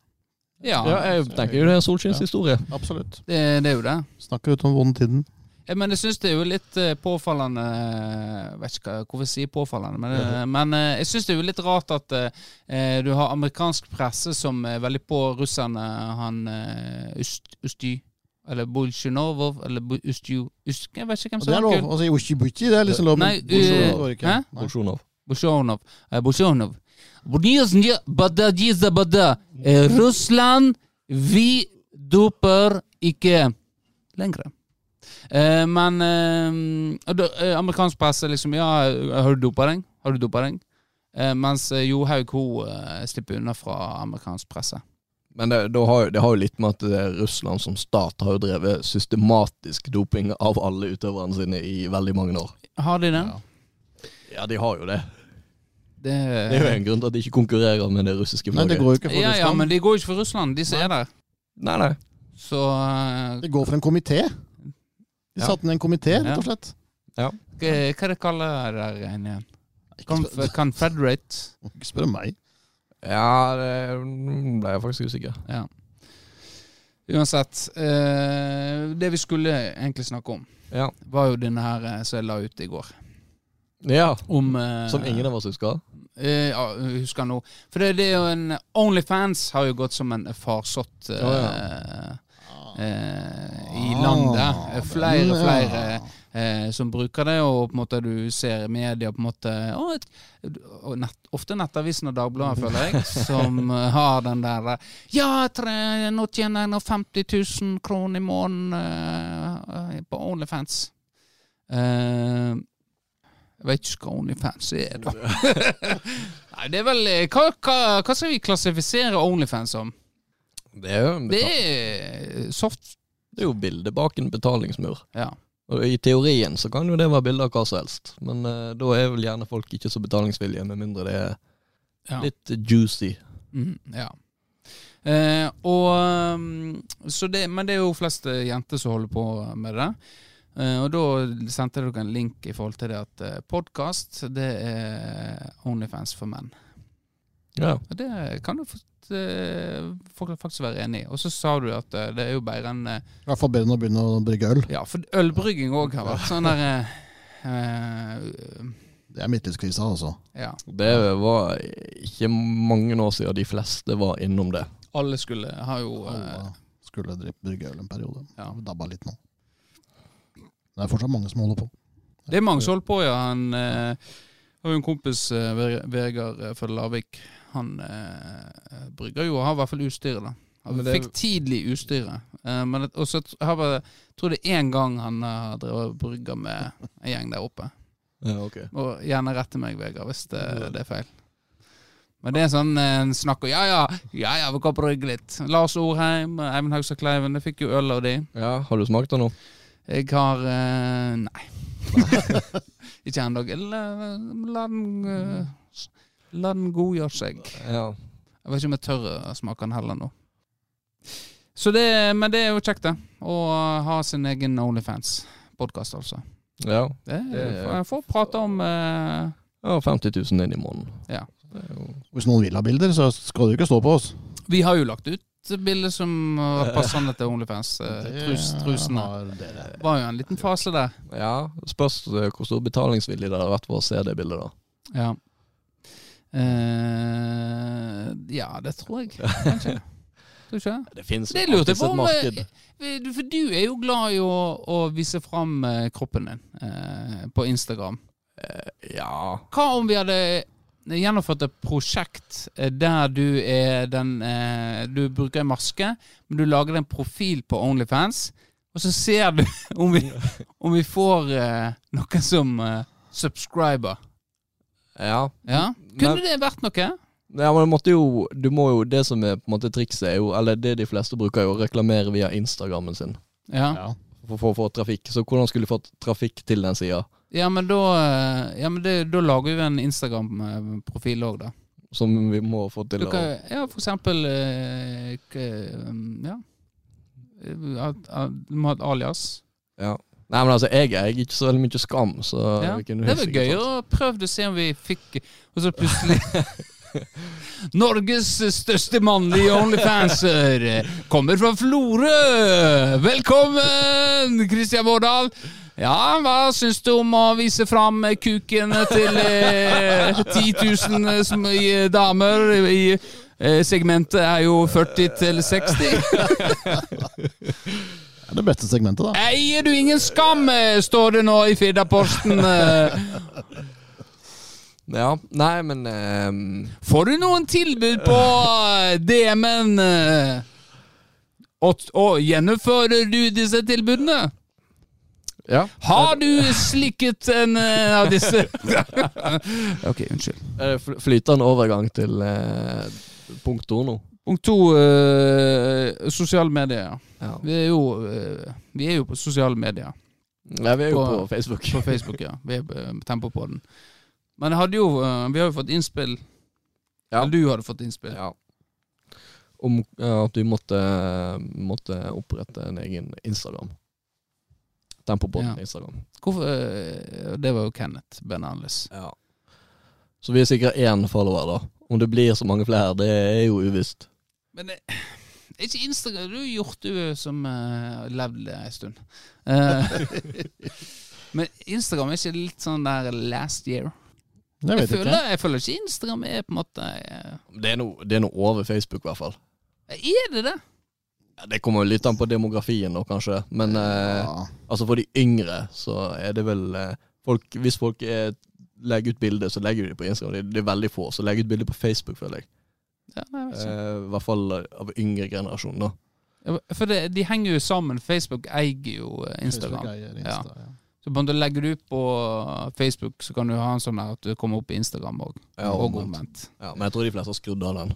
B: Ja,
C: Ja, jeg tenker jo det er Solskinns
D: Ja.
C: historie.
D: Absolutt.
B: det, det er jo det.
D: Snakker ut om vond tiden.
B: Eh, Men jeg syns det er jo litt eh, påfallende Jeg vet ikke hva- hvorfor jeg sier påfallende, men, eh, men eh, jeg syns det er jo litt rart at eh, eh, du har amerikansk presse som er veldig på russerne, han eh, Ust- Usty Eller Bolsjunovov Eller Bu- Ustju Ust, Jeg vet ikke hvem
D: Og
B: som
D: det er lov. Altså, Oshibuchi, det er liksom lov.
B: Nei,
D: men Bolsjunov
B: eh,
D: går ikke.
B: hæ?
D: Nei.
C: Bolsjunov.
B: Бушонов. Бушонов. Russland, Eh, vi doper ikke lenger. Eh, men eh, og da, eh, amerikansk presse liksom Ja, har du dopa deg? Har du dopa deg? Eh, mens eh, Johaug hun eh, slipper unna fra amerikansk presse.
C: Men det, da har, jo- det har jo litt med at det er Russland som stat har jo drevet systematisk doping av alle utøverne sine i veldig mange år.
B: Har de det?
D: Ja.
C: Ja, de har jo det.
B: Det, eh,
C: Det er jo en grunn til at de ikke konkurrerer med det russiske
D: Nei, det
C: flagget.
D: går jo ikke for
B: ja, ja,
D: Russland.
B: men de går jo ikke for Russland, de som er der.
C: Nei, nei.
B: Så eh,
D: Det går for en komité. De
C: Ja.
D: satte ned en komité, rett
B: Ja.
D: og slett.
B: hva hva er det kaller det der igjen? igjen?
D: Ikke
B: Conf
D: spør,
B: Confederate?
D: ikke spør meg.
C: Ja, det mm, ble jeg faktisk usikker.
B: Ja. Uansett. Eh, det vi skulle egentlig snakke om,
C: Ja.
B: var jo denne her eh, som jeg la ut i går.
C: ja.
B: Om eh,
C: Som ingen av oss husker.
B: eh, Ja, husker nå. For det, det er jo en Onlyfans har jo gått som en farsott eh, eh, i
D: Ah,
B: landet. Flere og
D: den,
B: flere
D: ja.
B: eh, som bruker det, og på en måte du ser i media på en måte å, et, og nett, Ofte Nettavisen og Dagbladet, føler jeg, som eh, har den der eh, Ja, tre, nå tjener jeg nå 50 000 kroner i måneden eh, på Onlyfans. Eh, jeg vet ikke hva Onlyfans er, da. Nei, det er vel eh, hva, hva, hva skal vi klassifisere Onlyfans som?
C: Det er jo,
B: Det er eh, soft
C: det er jo bildet bak en betalingsmur.
B: Ja.
C: Og I teorien så kan jo det være bilder av hva som helst, men eh, da er vel gjerne folk ikke så betalingsvillige, med mindre det er
B: Ja.
C: litt juicy.
B: Mhm, ja. Eh, og, um, så det, men det er jo flest eh, jenter som holder på med det. Eh, og da sendte dere en link i forhold til det at eh, podkast, det er Onlyfans for menn.
C: Ja.
B: Og det kan du fort, eh, folk faktisk være enig i. Og så sa du at eh, det er jo bedre enn eh,
D: I hvert fall bedre enn å begynne å brygge øl.
B: Ja, for ølbrygging òg har vært sånn der eh, eh,
D: Det er midtlivskrisa, altså.
B: Ja.
C: Det var ikke mange år siden de fleste var innom det.
B: Alle skulle har jo eh,
D: Alle skulle drikke brygge øl en periode.
B: Ja.
D: Dabba litt nå. Det er fortsatt mange som holder på.
B: Det er mange som holder på, ja. Han eh, har jo en kompis, eh, Ver- Vegard eh, fra Lavik. Han eh, brygger jo og har i hvert fall utstyret, da. Han
C: Men det-
B: fikk tidlig utstyret. Eh, men at- og så t- har jeg tror det er én gang han har drevet og brygga med en gjeng der oppe.
C: Ja, ok.
B: Og gjerne rette meg, Vegard, hvis det, det er feil. Men det er sånn eh, en snakk om ja ja, ja ja, vi kan brygge litt. Lars Orheim, Eivind Haugstad Kleiven, det fikk jo øl av de.
C: Ja, har du smakt det nå?
B: Jeg har eh, Nei. ikke ennå. La, la den eh, s- La den godgjøre seg.
C: Ja.
B: Jeg vet ikke om jeg tør å smake den heller nå. Så det, men det er jo kjekt, det. Å ha sin egen Onlyfans-podkast, altså.
C: Ja,
B: Det,
C: Det er-
B: jeg får prate om eh,
C: ja 50 000 inn i måneden.
B: Ja.
C: Det er jo...
D: Hvis noen vil ha bilder, så skal du ikke stå på oss.
B: Vi har jo lagt ut bilder som var passende til Onlyfans. eh, Trus, trusene.
D: har dere.
B: Det var jo en liten fase der.
C: ja, spørs eh, hvor stor betalingsvilje det har vært for å se det bildet da.
B: Ja. Eh, ja, det tror jeg. Kanskje. Skal du ikke?
C: Det fins
B: Det lurte jeg på.
C: alltids et
B: Om,
C: marked.
B: eh, du- for du er jo glad i å, å vise fram eh, kroppen din eh, på Instagram.
C: Ja
B: Hva om vi hadde gjennomført et prosjekt eh, der du er den eh, Du bruker en maske, men du lager en profil på Onlyfans, og så ser du om vi, om vi får eh, noe som eh, subscriber.
C: Ja.
B: Ja? Kunne det vært noe?
C: Ja, men du måtte jo, du må jo, Det som er på en måte trikset, er jo Eller det de fleste bruker, er jo å reklamere via Instagrammen sin
B: Ja.
D: Ja.
C: for for å få trafikk. Så hvordan skulle du fått trafikk til den sida?
B: Ja, men da, eh, ja, men det, da lager vi en Instagram-profil òg, da.
C: Som vi må få til
B: Du
C: å
B: kan, ja, for eksempel eh, k- um, Ja. Eh, at- at Du må ha et alias.
C: ja. Nei, men altså, jeg eier ikke så veldig mye skam, så
B: Ja.
C: vi
B: Det
C: kunne
B: var
C: helt sikkert
B: gøy
C: fått-
B: å prøve å se om vi fikk Og så plutselig Norges største mannlige Onlyfanser eh, kommer fra Florø! Velkommen, Christian Vårdal! Ja, hva syns du om å vise fram kukene til eh, 10 000 eh, som- i, eh, damer i eh, segmentet er jo 40 til 60?
D: Det er det beste segmentet, da.
B: Eier du ingen skam, eh, står det nå i Firdaposten. eh.
C: Ja, Nei, men ehm,
B: Får du noen tilbud på eh, DM-en? eh? Og, og gjennomfører du disse tilbudene?
C: Ja.
B: Har du slikket en eh, av disse? ok, unnskyld.
C: Er det fl- Flytende overgang til eh, punkt to nå.
B: Punkt to eh, sosiale medier.
C: Ja.
B: Vi er, jo, eh, vi er jo på sosiale medier.
C: Nei, vi er jo på,
B: På-
C: Facebook.
B: På Facebook, ja. Vi er eh, tempo på den. Men jeg hadde jo, eh, vi har jo fått innspill.
C: Ja.
B: Eller du hadde fått innspill.
C: Ja. Om ja, at vi måtte, måtte opprette en egen Instagram. Tempobåten
B: Ja.
C: Instagram.
B: Hvorfor, eh, det var jo Kenneth Bernales.
C: Ja. Så vi er sikkert én follower, da. Om det blir så mange flere, det er jo uvisst.
B: Men det, det er ikke Instagram. Du er hjortue som eh, har levd en stund. Eh, men Instagram er ikke litt sånn der last year?
D: Jeg
B: Jeg
D: vet ikke.
B: føler, jeg føler ikke Instagram er på en måte eh,
C: Det er noe, det er noe over Facebook, i hvert fall.
B: Er det det?
C: Ja, det kommer jo litt an på demografien, da, kanskje. Men eh,
D: Ja.
C: altså for de yngre, så er det vel eh, folk, Hvis folk eh, legger ut bilder, så legger de det på Instagram. Det, det er veldig få som legger ut bilder på Facebook, føler jeg.
B: Ja, nei, jeg vet ikke.
C: Eh, I hvert fall av yngre generasjon, da.
B: Ja, For det, de henger jo sammen. Facebook eier jo eh, Instagram.
D: Facebook eier Insta, ja.
B: Så på en måte legger du ut på Facebook, så kan du ha en sånn der at du kommer opp på Instagram òg.
C: Ja,
B: og
C: omvendt.
B: omvendt.
C: Ja, men jeg tror de fleste har skrudd av den.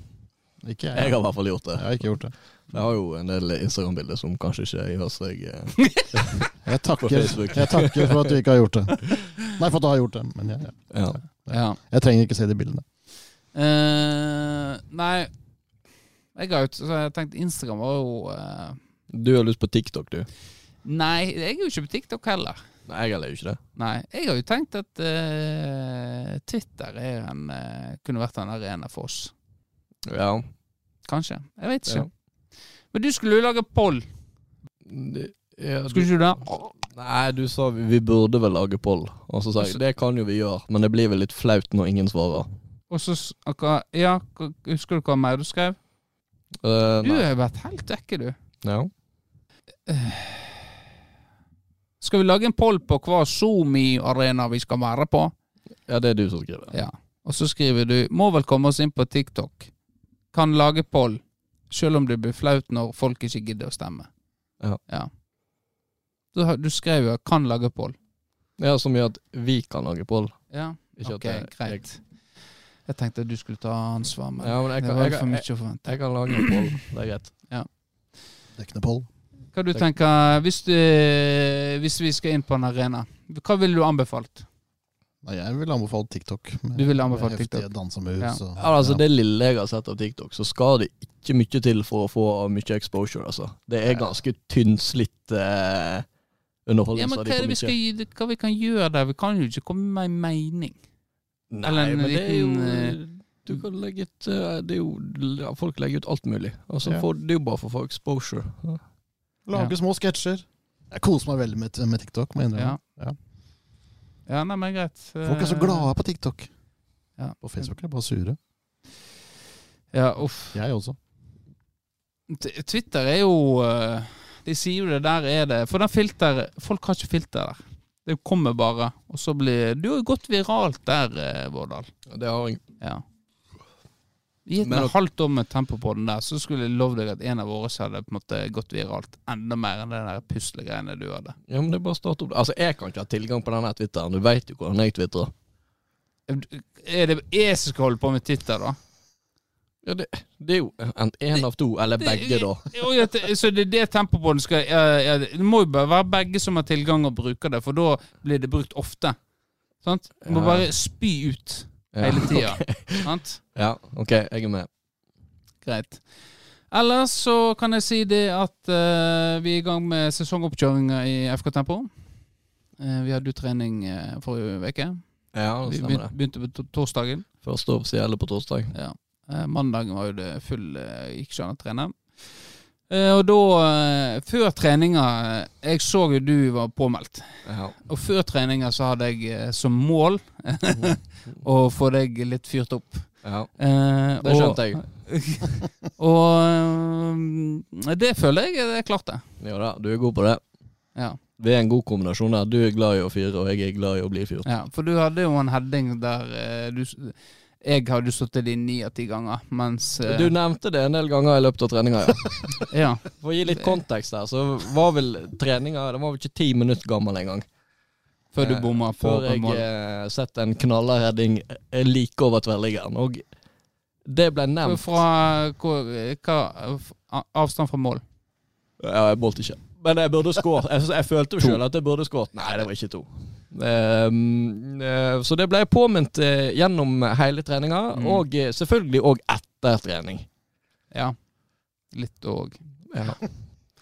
D: Ikke
C: Jeg
D: jeg.
C: har i hvert fall gjort det.
D: Jeg har ikke gjort det.
C: Jeg har jo en del Instagram-bilder som kanskje ikke gjør seg eh,
D: Jeg
C: på
D: takker,
C: Facebook.
D: jeg takker for at du ikke har gjort det. Nei, for at du har gjort det, men jeg,
C: Ja.
B: Ja.
D: jeg trenger ikke se de bildene.
B: Eh, nei Jeg ga ut Så jeg tenkte Instagram var jo eh,
C: Du har lyst på TikTok, du.
B: Nei, jeg er jo ikke på TikTok heller.
C: Nei, jeg heller jo ikke det.
B: Nei, Jeg har jo tenkt at eh, Twitter er en, eh, kunne vært en arena for oss.
C: Ja.
B: Kanskje. Jeg vet ikke.
C: Ja.
B: Men du skulle jo lage poll.
C: Det- ja du,
B: Skulle ikke du det?
C: nei, du sa vi, vi burde vel lage poll. Og så sa jeg det kan jo vi gjøre, men det blir vel litt flaut når ingen svarer.
B: Og så s- hva- Ja, hva- husker du hva mer du skrev?
C: Eh,
B: Du
C: nei.
B: har jo vært helt vekke, du.
C: Ja.
B: Skal vi lage en poll på hva SoMe-arena vi skal være på?
C: ja, det er du som skriver.
B: Ja. Og så skriver du 'Må vel komme oss inn på TikTok'. Kan lage poll, sjøl om det blir flaut når folk ikke gidder å stemme.
C: Ja.
B: Du, har- du skrev jo 'kan lage poll'.
C: Ja, Som gjør at vi kan lage poll.
B: Ja,
C: Ikke
B: ok,
C: at jeg,
B: greit. Jeg tenkte at du skulle ta ansvar, men
C: Jeg, ja, men jeg
B: det
C: kan,
B: var
C: jeg,
B: for
C: kan-
B: mye
C: jeg,
B: å forvente.
C: jeg kan lage en poll. Det er greit.
D: Dekkende poll.
B: Hva du
C: jeg-
B: tenker hvis, du, hvis vi skal inn på en arena, hva ville du anbefalt?
D: Nei, jeg vil anbefale TikTok.
B: Du ville anbefalt
D: Med heftige
B: TikTok.
D: dansemoves
B: Ja.
D: og-
C: Ja, altså Det lille jeg har sett av TikTok, så skal det ikke mye til for å få mye exposure. altså. Det er ganske tynnslitt eh, underholdning.
B: Ja, men
C: så
B: hva
C: det
B: er det
C: får
B: vi skal,
C: mye-
B: gi- hva vi kan gjøre der? Vi kan jo ikke komme med en mening.
C: Nei,
B: eller en
C: men det er
B: liten, eh,
C: jo Du kan legge ut eh, det er jo, ja, Folk legger ut alt mulig. Altså,
D: Ja.
C: får- det er jo bare for å få exposure.
D: Lage
B: Ja.
D: små sketsjer. Jeg koser meg veldig med, med TikTok. Må jeg innrømme.
B: Ja. Ja, nei, men greit. Eh,
D: Folk er så glade på TikTok.
B: Ja.
D: På Facebook er de bare sure.
B: Ja, uff.
D: Jeg også.
B: T- Twitter er jo eh, De sier jo det der er det For den filter Folk har ikke filter der. Det kommer bare, og så blir Du har jo gått viralt der, eh, Vårdal.
C: Det har jeg.
B: Ja. I et
C: Men-
B: med halvt år med tempo på den der, så skulle jeg lov deg at en av våre hadde på en måte gått viralt enda mer enn det der puslegreiene du hadde.
C: Ja, men det er bare å starte opp. Altså, jeg kan ikke ha tilgang på denne Twitteren. Du veit jo hvordan jeg twitrer.
B: Er det jeg som skal holde på med Twitter, da?
C: Ja, det, det er jo en, en av to, eller begge, da.
B: Jo, ja, det- Så det er det tempobåndet skal ja, ja, Det må jo bare være begge som har tilgang og bruker det, for da blir det brukt ofte. Sant? Du må
C: Ja.
B: bare spy ut hele
C: Ja.
B: tida. Sant?
C: Ja, OK, jeg er med.
B: Greit. Ellers så kan jeg si det at eh, vi er i gang med sesongoppkjøringa i FK Tempo. Eh, vi hadde jo trening eh, forrige uke.
C: Ja, det
B: Vi
C: stemmer
B: begynte,
C: det.
B: begynte på to- torsdagen.
C: Første offisielle på torsdag.
B: Ja. Eh, mandagen var jo det full eh, Gikk ikke an å trene. Eh, og da, eh, før treninga eh, Jeg så jo du var påmeldt.
C: Ja.
B: Og før treninga så hadde jeg eh, som mål å få deg litt fyrt opp.
C: ja.
B: Eh,
C: Det skjønte jeg.
B: Og øhm, det føler jeg jeg klarte.
C: Jo da, du er god på det.
B: Ja.
C: Vi er en god kombinasjon der. Du er glad i å fyre, og jeg er glad i å bli fyrt.
B: ja, For du hadde jo en heading der eh, du, s- jeg hadde jo sittet i ni av ti ganger, mens eh,
C: Du nevnte det en del ganger i løpet av treninga. Ja.
B: ja,
C: For å gi litt kontekst her, så var vel treninga Den var vel ikke ti minutter gammel engang.
B: Før du
C: Eh,
B: bomma på
C: Før jeg
B: mål.
C: eh, sett en knallerheading eh, like over tverrliggeren. Og det ble nevnt
B: Fra hvor, hva a- avstand fra mål?
C: Ja, jeg målte ikke. Men jeg burde skåret. Jeg, jeg følte sjøl at jeg burde skåret. Nei, det var ikke to. Ehm, eh, så det ble jeg påminnet eh, gjennom hele treninga,
B: Mm.
C: og eh, selvfølgelig òg etter trening.
B: Ja. Litt òg.
C: Ja.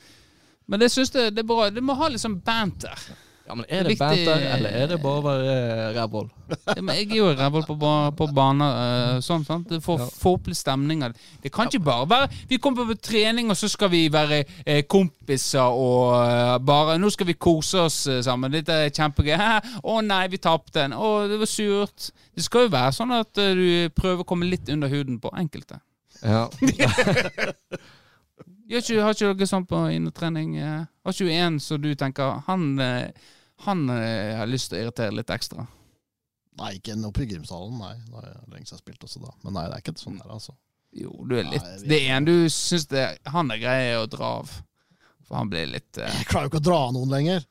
B: Men det syns jeg det er bra. Det må ha litt sånn banter.
C: Ja, men Er
B: Det er
C: det
B: viktig-
C: banter, eller er det bare å være eh, rævhål?
B: Ja, men jeg er jo rævhål på, ba- på baner. eh, sånn, sant? Det får,
C: Ja.
B: får opp litt stemninga. Det kan ikke bare være Vi kommer på trening, og så skal vi være eh, kompiser og eh, bare Nå skal vi kose oss eh, sammen. Dette er kjempegøy. Hæ? Å nei, vi tapte den. Å, det var surt. Det skal jo være sånn at eh, du prøver å komme litt under huden på enkelte.
C: Ja.
B: Gjør ikke, har ikke dere sånn på innetrening? eh? Har ikke du en som du tenker Han, eh, han eh, har lyst til å irritere litt ekstra?
D: Nei, ikke oppe i Grimsdalen, nei. Da er det lenge siden jeg spilte også da. Men nei, det er ikke sånn der, altså.
B: Jo, du er
D: Nei,
B: litt
D: jeg vet
B: Det er en du syns det han er grei å dra av. For han blir litt eh,
D: Jeg klarer jo ikke å dra noen lenger.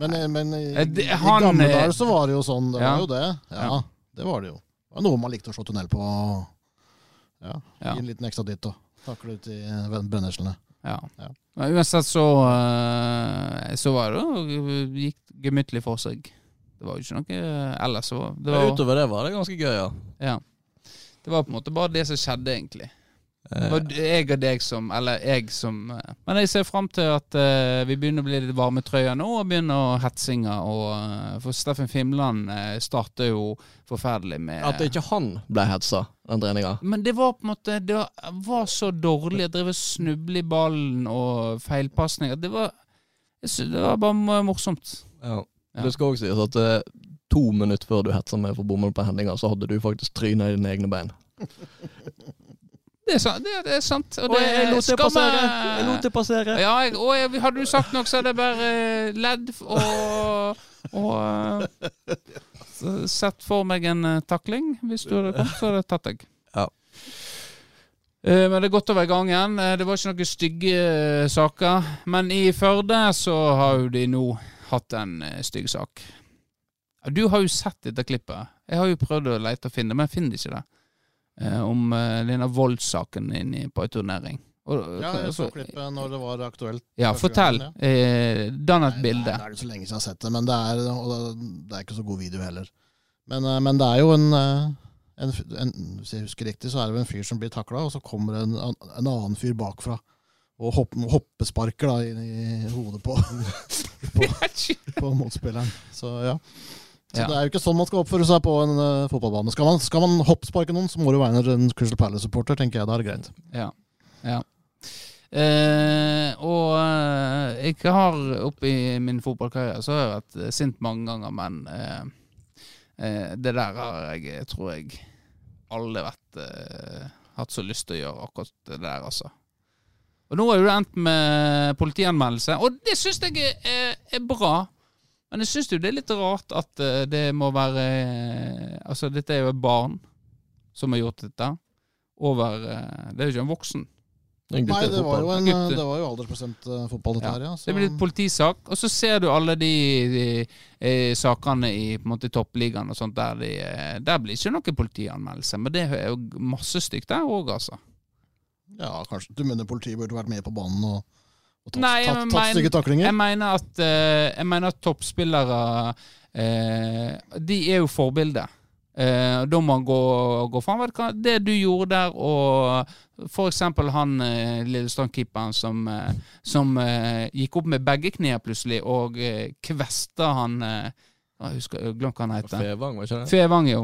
D: Men, men i,
B: Eh, det-
D: i
B: han-
D: gamle dager så var det jo sånn. Det
B: Ja.
D: var jo det. Ja,
B: Ja.
D: det var det jo. Det var noe man likte å slå tunnel på. Ja,
B: Ja.
D: Gi en liten ekstra dytt og takle ut i eh, brenneslene.
B: Ja.
D: Ja.
B: Men uansett så eh, Så var det jo Gikk gemyttlig for seg. Det var jo ikke noe eh, ellers. så var- Det
C: Men
B: var,
C: Utover det var det ganske gøy, ja.
B: ja. det var på en måte bare det som skjedde, egentlig. Det
C: Eh,
B: var jeg og deg som Eller jeg som eh, Men jeg ser fram til at eh, vi begynner å bli litt varme i trøya nå, og begynner hetsinga. Og, eh, for Steffen Fimland uh, starter jo forferdelig med
C: At ikke han ble hetsa, den treninga.
B: Men det var på en måte Det var, var så dårlig. Jeg drev og snublet i ballen og feilpasninger. Det var jeg synes det var bare morsomt.
C: Ja.
B: Ja.
C: Det skal òg sies at eh, to minutter før du hetsa meg for bommene på hendinga, så hadde du faktisk tryna i dine egne bein.
B: Det er sant. Det, det er sant og
C: Og
B: det
C: jeg, jeg lot det
B: skammer-
C: passere! Jeg lot det passere.
B: Ja, jeg, og jeg, hadde du sagt noe, så hadde jeg bare eh, ledd og, og eh, s- sett for meg en eh, takling. Hvis du hadde kommet, så hadde jeg tatt deg.
C: Ja.
B: Eh, Men det er godt å være i gang igjen. Eh, Det var ikke noen stygge eh, saker. Men i Førde så har jo de nå hatt en eh, stygg sak. Ja, Du har jo sett dette klippet. Jeg har jo prøvd å lete og finne det, men jeg finner ikke det. Eh, Om eh, denne voldssaken inne i- på en turnering. Og-
D: Ja, jeg
B: altså,
D: så klippet når det var aktuelt.
B: ja,
D: Første
B: fortell.
D: gangen,
B: Eh, Dann et
D: Nei, Det
B: bilde.
D: er, det er jo så lenge siden jeg har sett det, men det er, og det, det er ikke så god video heller. Men, eh, men det er jo en, eh, en, f- en Hvis jeg husker riktig, så er det jo en fyr som blir takla, og så kommer det en, an- en annen fyr bakfra. Og hopp, hoppesparker da inn i hodet på, på, på motspilleren. Så ja. Så
B: Ja.
D: Det er jo ikke sånn man skal oppføre seg på en eh, fotballbane. Skal man, skal man hoppesparke noen, så må du være en Crystal Palace-supporter, tenker jeg. Da er det greit.
B: Ja. ja. Eh, og eh, jeg har oppe i min fotballkarriere så har jeg vært eh, sint mange ganger, men eh, eh, det der har jeg, jeg tror jeg eh, aldri vært eh, hatt så lyst til å gjøre akkurat det der, altså. Og nå er jo det endt med politianmeldelse, og det syns jeg er, er, er bra. Men jeg syns jo det er litt rart at eh, det må være eh, Altså, dette er jo et barn som har gjort dette. Over eh, Det er jo ikke en voksen.
C: En
D: Nei, det var jo, en, eh,
B: Gutter.
D: det var jo aldersbestemt eh, fotball, dette
B: Ja,
D: her, ja.
B: Det blir litt politisak, og så ser du alle de, de eh, sakene i på en måte, toppligaen og sånt der de, eh, Der blir ikke noe politianmeldelse, men det er jo masse stygt der òg, altså.
D: ja, kanskje du mener politiet burde vært med på banen og, og tatt,
B: Nei,
D: tatt,
B: men
D: tatt
B: men-
D: stygge taklinger?
B: Jeg mener at, eh, jeg mener at toppspillere eh, De er jo forbilder. Eh, og da må han gå, gå fram. Vet du hva, det du gjorde der, og for eksempel han eh, Lillestrøm-keeperen som, eh, som eh, gikk opp med begge knær plutselig og eh, kvesta han eh, Jeg husker jeg har glemt hva han heter.
C: Fevang, var ikke det?
B: Fevang, jo.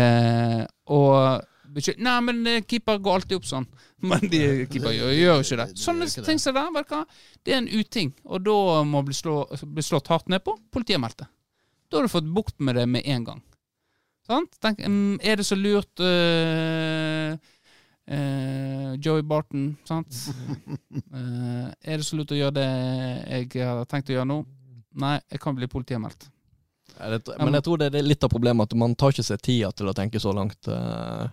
B: Eh, og beskyld- Nei, men eh, keeper går alltid opp sånn. Men de keeper gjør, gjør jo ikke det.
D: De gjør
B: Sånne
D: ikke det.
B: ting som det der, vet du hva. Det er en uting, og da må bli, slå, bli slått hardt ned på. Politiet meldte. Da har du fått bukt med det med en gang. Sant? Tenk, mm, er det så lurt eh, eh, Joey Barton, sant? Eh, er det så lurt å gjøre det jeg har tenkt å gjøre nå? Nei, jeg kan bli politianmeldt.
C: Ja, det- Men jeg tror det er litt av problemet at man tar ikke seg tida til å tenke så langt eh,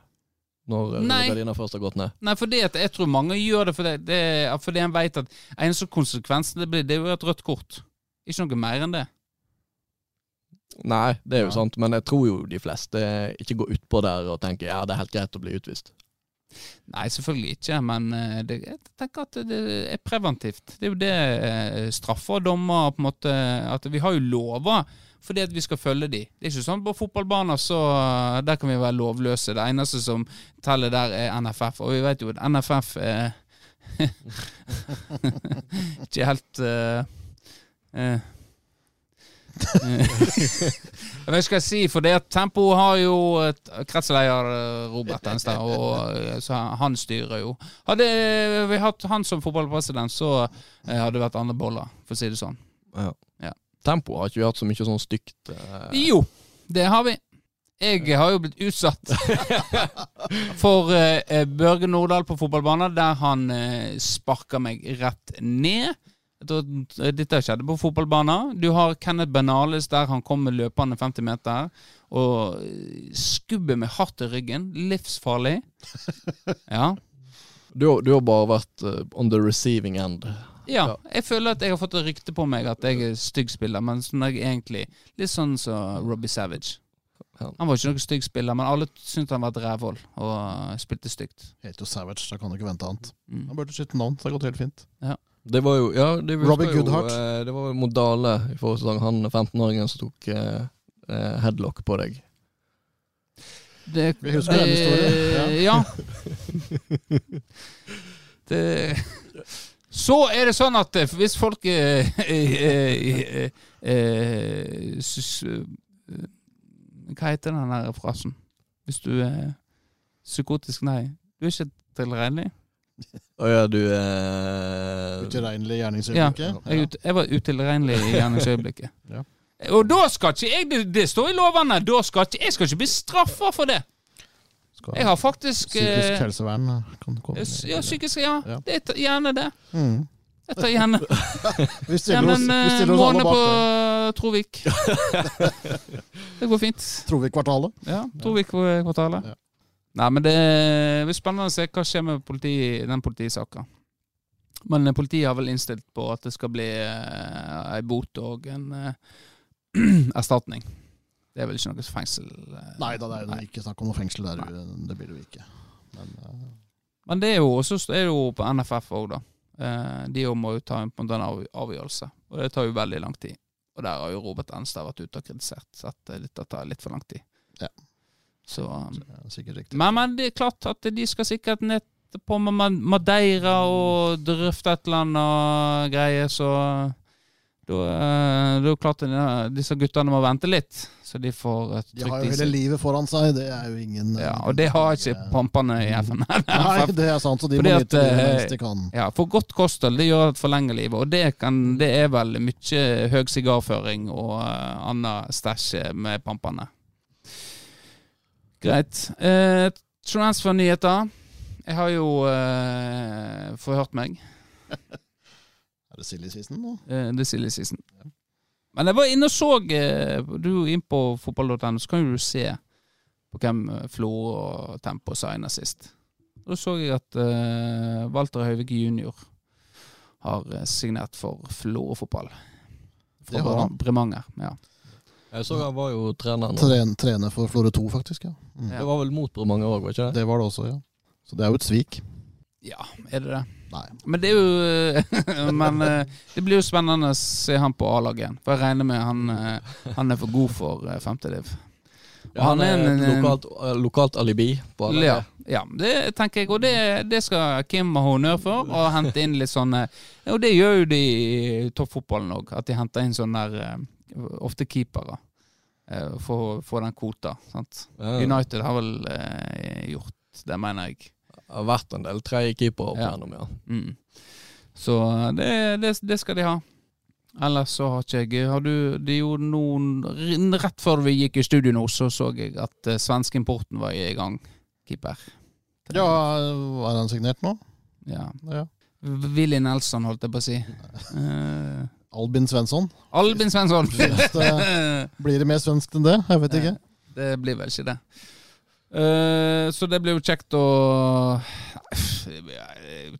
C: når eh,
B: Nei.
C: gardina først har gått ned.
B: Nei, for det at jeg tror mange gjør det fordi, det, fordi en vet at eneste konsekvensen det blir, det er jo et rødt kort. Ikke noe mer enn det.
C: Nei, det er
B: Ja.
C: jo sant, men jeg tror jo de fleste ikke går utpå der og tenker ja, det er helt greit å bli utvist.
B: Nei, selvfølgelig ikke, men eh, det, jeg tenker at det er preventivt. Det er jo det eh, straffer og dommer på en måte At vi har jo lover fordi at vi skal følge de. Det er ikke sånn på fotballbaner så eh, der kan vi være lovløse. Det eneste som teller der, er NFF. Og vi vet jo at NFF er eh, ikke helt eh, eh, eh. Jeg vet ikke hva jeg sier, for det at Tempo har jo et kretsleder eh, Robert Enstad, og eh, så han styrer jo. Hadde vi hatt han som fotballpresident, så eh, hadde det vært andre boller, for å si det sånn. Ja.
C: Tempo har ikke vi hatt så mye sånn stygt eh,
B: Jo, det har vi. Jeg har jo blitt utsatt for eh, Børge Nordahl på fotballbanen, der han eh, sparker meg rett ned. Jeg tror Dette skjedde på fotballbanen. Du har Kenneth Benales der han kommer løpende 50 meter og eh, skubber meg hardt i ryggen. Livsfarlig. Ja.
C: du, har- du har bare vært eh, on the receiving end.
B: Ja,
C: Ja.
B: jeg føler at jeg har fått et rykte på meg at jeg er stygg spiller, men sånn er jeg egentlig litt sånn som Robbie Savage.
C: Ja.
B: Han var ikke noen stygg spiller, men alle syntes han var et rævhold og øh, spilte stygt.
D: Heter jo Savage, da kan du ikke vente annet.
B: Mm.
D: Han burde skifte navn, så det har gått helt fint.
C: Det var jo ja, det husker
D: Robbie
C: jeg
D: Goodhart.
C: Jo, eh, det var jo mot Dale i forrige sesong, han 15-åringen som tok eh, eh, headlock på deg.
B: Det,
D: Vi husker den historien,
B: Ja. det, så er det sånn at eh, hvis folk eh, eh, eh, eh, sys- eh, Hva heter den der frasen? Hvis du er psykotisk nei. Du er ikke tilregnelig.
C: Å ja, du eh,
D: Utilregnelig
B: Ja,
D: gjerningsøyeblikk.
B: jeg, er ut- jeg var utilregnelig i gjerningsøyeblikket.
D: Ja.
B: Og da skal ikke jeg Det, det står i lovene! Da skal ikke, jeg skal ikke bli straffa for det!
D: Skal-
B: Jeg har faktisk eh,
D: Psykisk helsevern kan komme inn i
B: Ja,
D: bildet.
B: psykisk ja.
D: Ja.
B: Det er gjerne det.
D: Mm.
B: Jeg tar gjerne,
D: Vi stiller
B: gjerne
D: oss,
B: en
D: vi
B: eh,
D: stiller oss alle
B: måned på eh,
D: bak det.
B: Trovik. Det går fint.
D: Tror vi kvartalet.
B: Ja, Trovik-kvartalet.
D: Ja.
B: Nei, men det blir spennende å se hva skjer med politi, den politisaka. Men eh, politiet har vel innstilt på at det skal bli eh, ei bot og en eh, erstatning. Det er vel ikke noe fengsel eh,
D: Nei da, det er jo
B: nei.
D: ikke snakk om noe fengsel der. eh, Det blir det jo ikke. Men eh,
B: Men det er jo også er det jo på NFF òg, da. Eh, de jo må jo ta en, på en måte en av, avgjørelse, og det tar jo veldig lang tid. Og der har jo Robert Enstad vært ute og kritisert at eh, dette tar litt for lang tid.
D: Ja.
B: Så eh,
D: det er sikkert riktig.
B: Men, men det er klart at de skal sikkert ned på Ma- Ma- Madeira og drøfte et eller annet greie, så da eh, da er det klart at de- disse guttene må vente litt, så de får et
D: De har
B: trygt
D: jo
B: i
D: hele
B: seg.
D: livet foran seg, det er jo ingen eh,
B: Ja, og det har ikke pampene i FN.
D: Nei, det er sant, så de må
B: Fordi at,
D: nyte det
B: eh,
D: mens de kan.
B: Ja, for godt kosthold det gjør at forlenger livet, og det, kan, det er vel mye høy sigarføring og uh, annet stæsj med pampene. Greit. Eh, Transfernyheter. Jeg har jo eh, forhørt meg.
D: Er det Siljesvisen nå?
B: Eh, det sier litt sisten. Men jeg var inne og så eh, Du er jo inn på fotball.no, så kan jo du se på hvem eh, Flo og Tempo signa sist. Da så jeg at eh, Walter Høyvik jr. har eh, signert for Flå fotball.
D: Det har han.
B: Bremanger. Ja.
C: Jeg så han var jo trener nå.
D: Tren, trener for Florø 2, faktisk. ja. Mm.
B: Ja.
C: Det var vel mot Bremanger òg, var ikke det?
D: Det var det også, ja. Så det er jo et svik.
B: ja, er det det?
D: Nei.
B: Men det er jo Men eh, det blir jo spennende å se han på A-laget igjen. For jeg regner med han, eh, han er for god for eh, femte div.
C: Ja, han er
B: en-
C: et lokalt, eh, lokalt alibi på alle.
B: Ja, ja, det tenker jeg, og det, det skal Kim ha honnør for. Og hente inn litt sånne Og det gjør jo de i toppfotballen òg, at de henter inn sånne der eh, ofte keepere. eh, For å få den kvota. Sant?
C: Ja, det
B: United har vel eh, gjort det, mener jeg.
C: Har vært en del treige keepere opp
B: Ja.
C: igjennom, ja.
B: Mm. Så det, det, det skal de ha. Ellers så har ikke jeg Har du det er jo noen Rett før vi gikk i studio nå, så så jeg at eh, svenskeimporten var i gang. Keeper.
D: Ja, Er han signert nå?
B: Ja.
D: Ja.
B: Willy Nelson, holdt jeg på å si. Eh,
D: Albin Svensson.
B: Albin Svensson!
D: Hvis det blir det mer svensk enn det? Jeg vet ikke.
B: det blir vel ikke det. Eh, så det blir jo kjekt å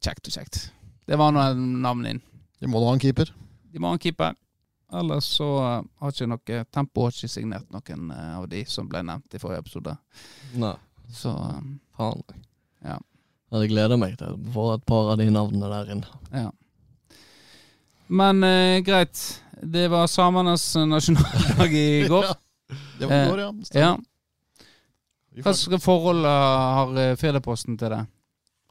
B: Kjekt og kjekt. Det var nå navnet inn.
D: De må da ha en keeper.
B: De må ha en keeper. Ellers så har ikke noe Tempo har ikke signert noen eh, av de som ble nevnt i forrige episode.
C: Nei,
B: Så um,
C: faen.
B: Ja.
C: Jeg gleder meg til å få et par av de navnene der inn.
B: ja. Men eh, greit. Det var samenes nasjonaldag i går. Eh,
D: Det var i går, ja. Stemmer.
B: ja.
D: Vi
B: Hva
D: får-
B: slags forhold har eh, Firdaposten til det?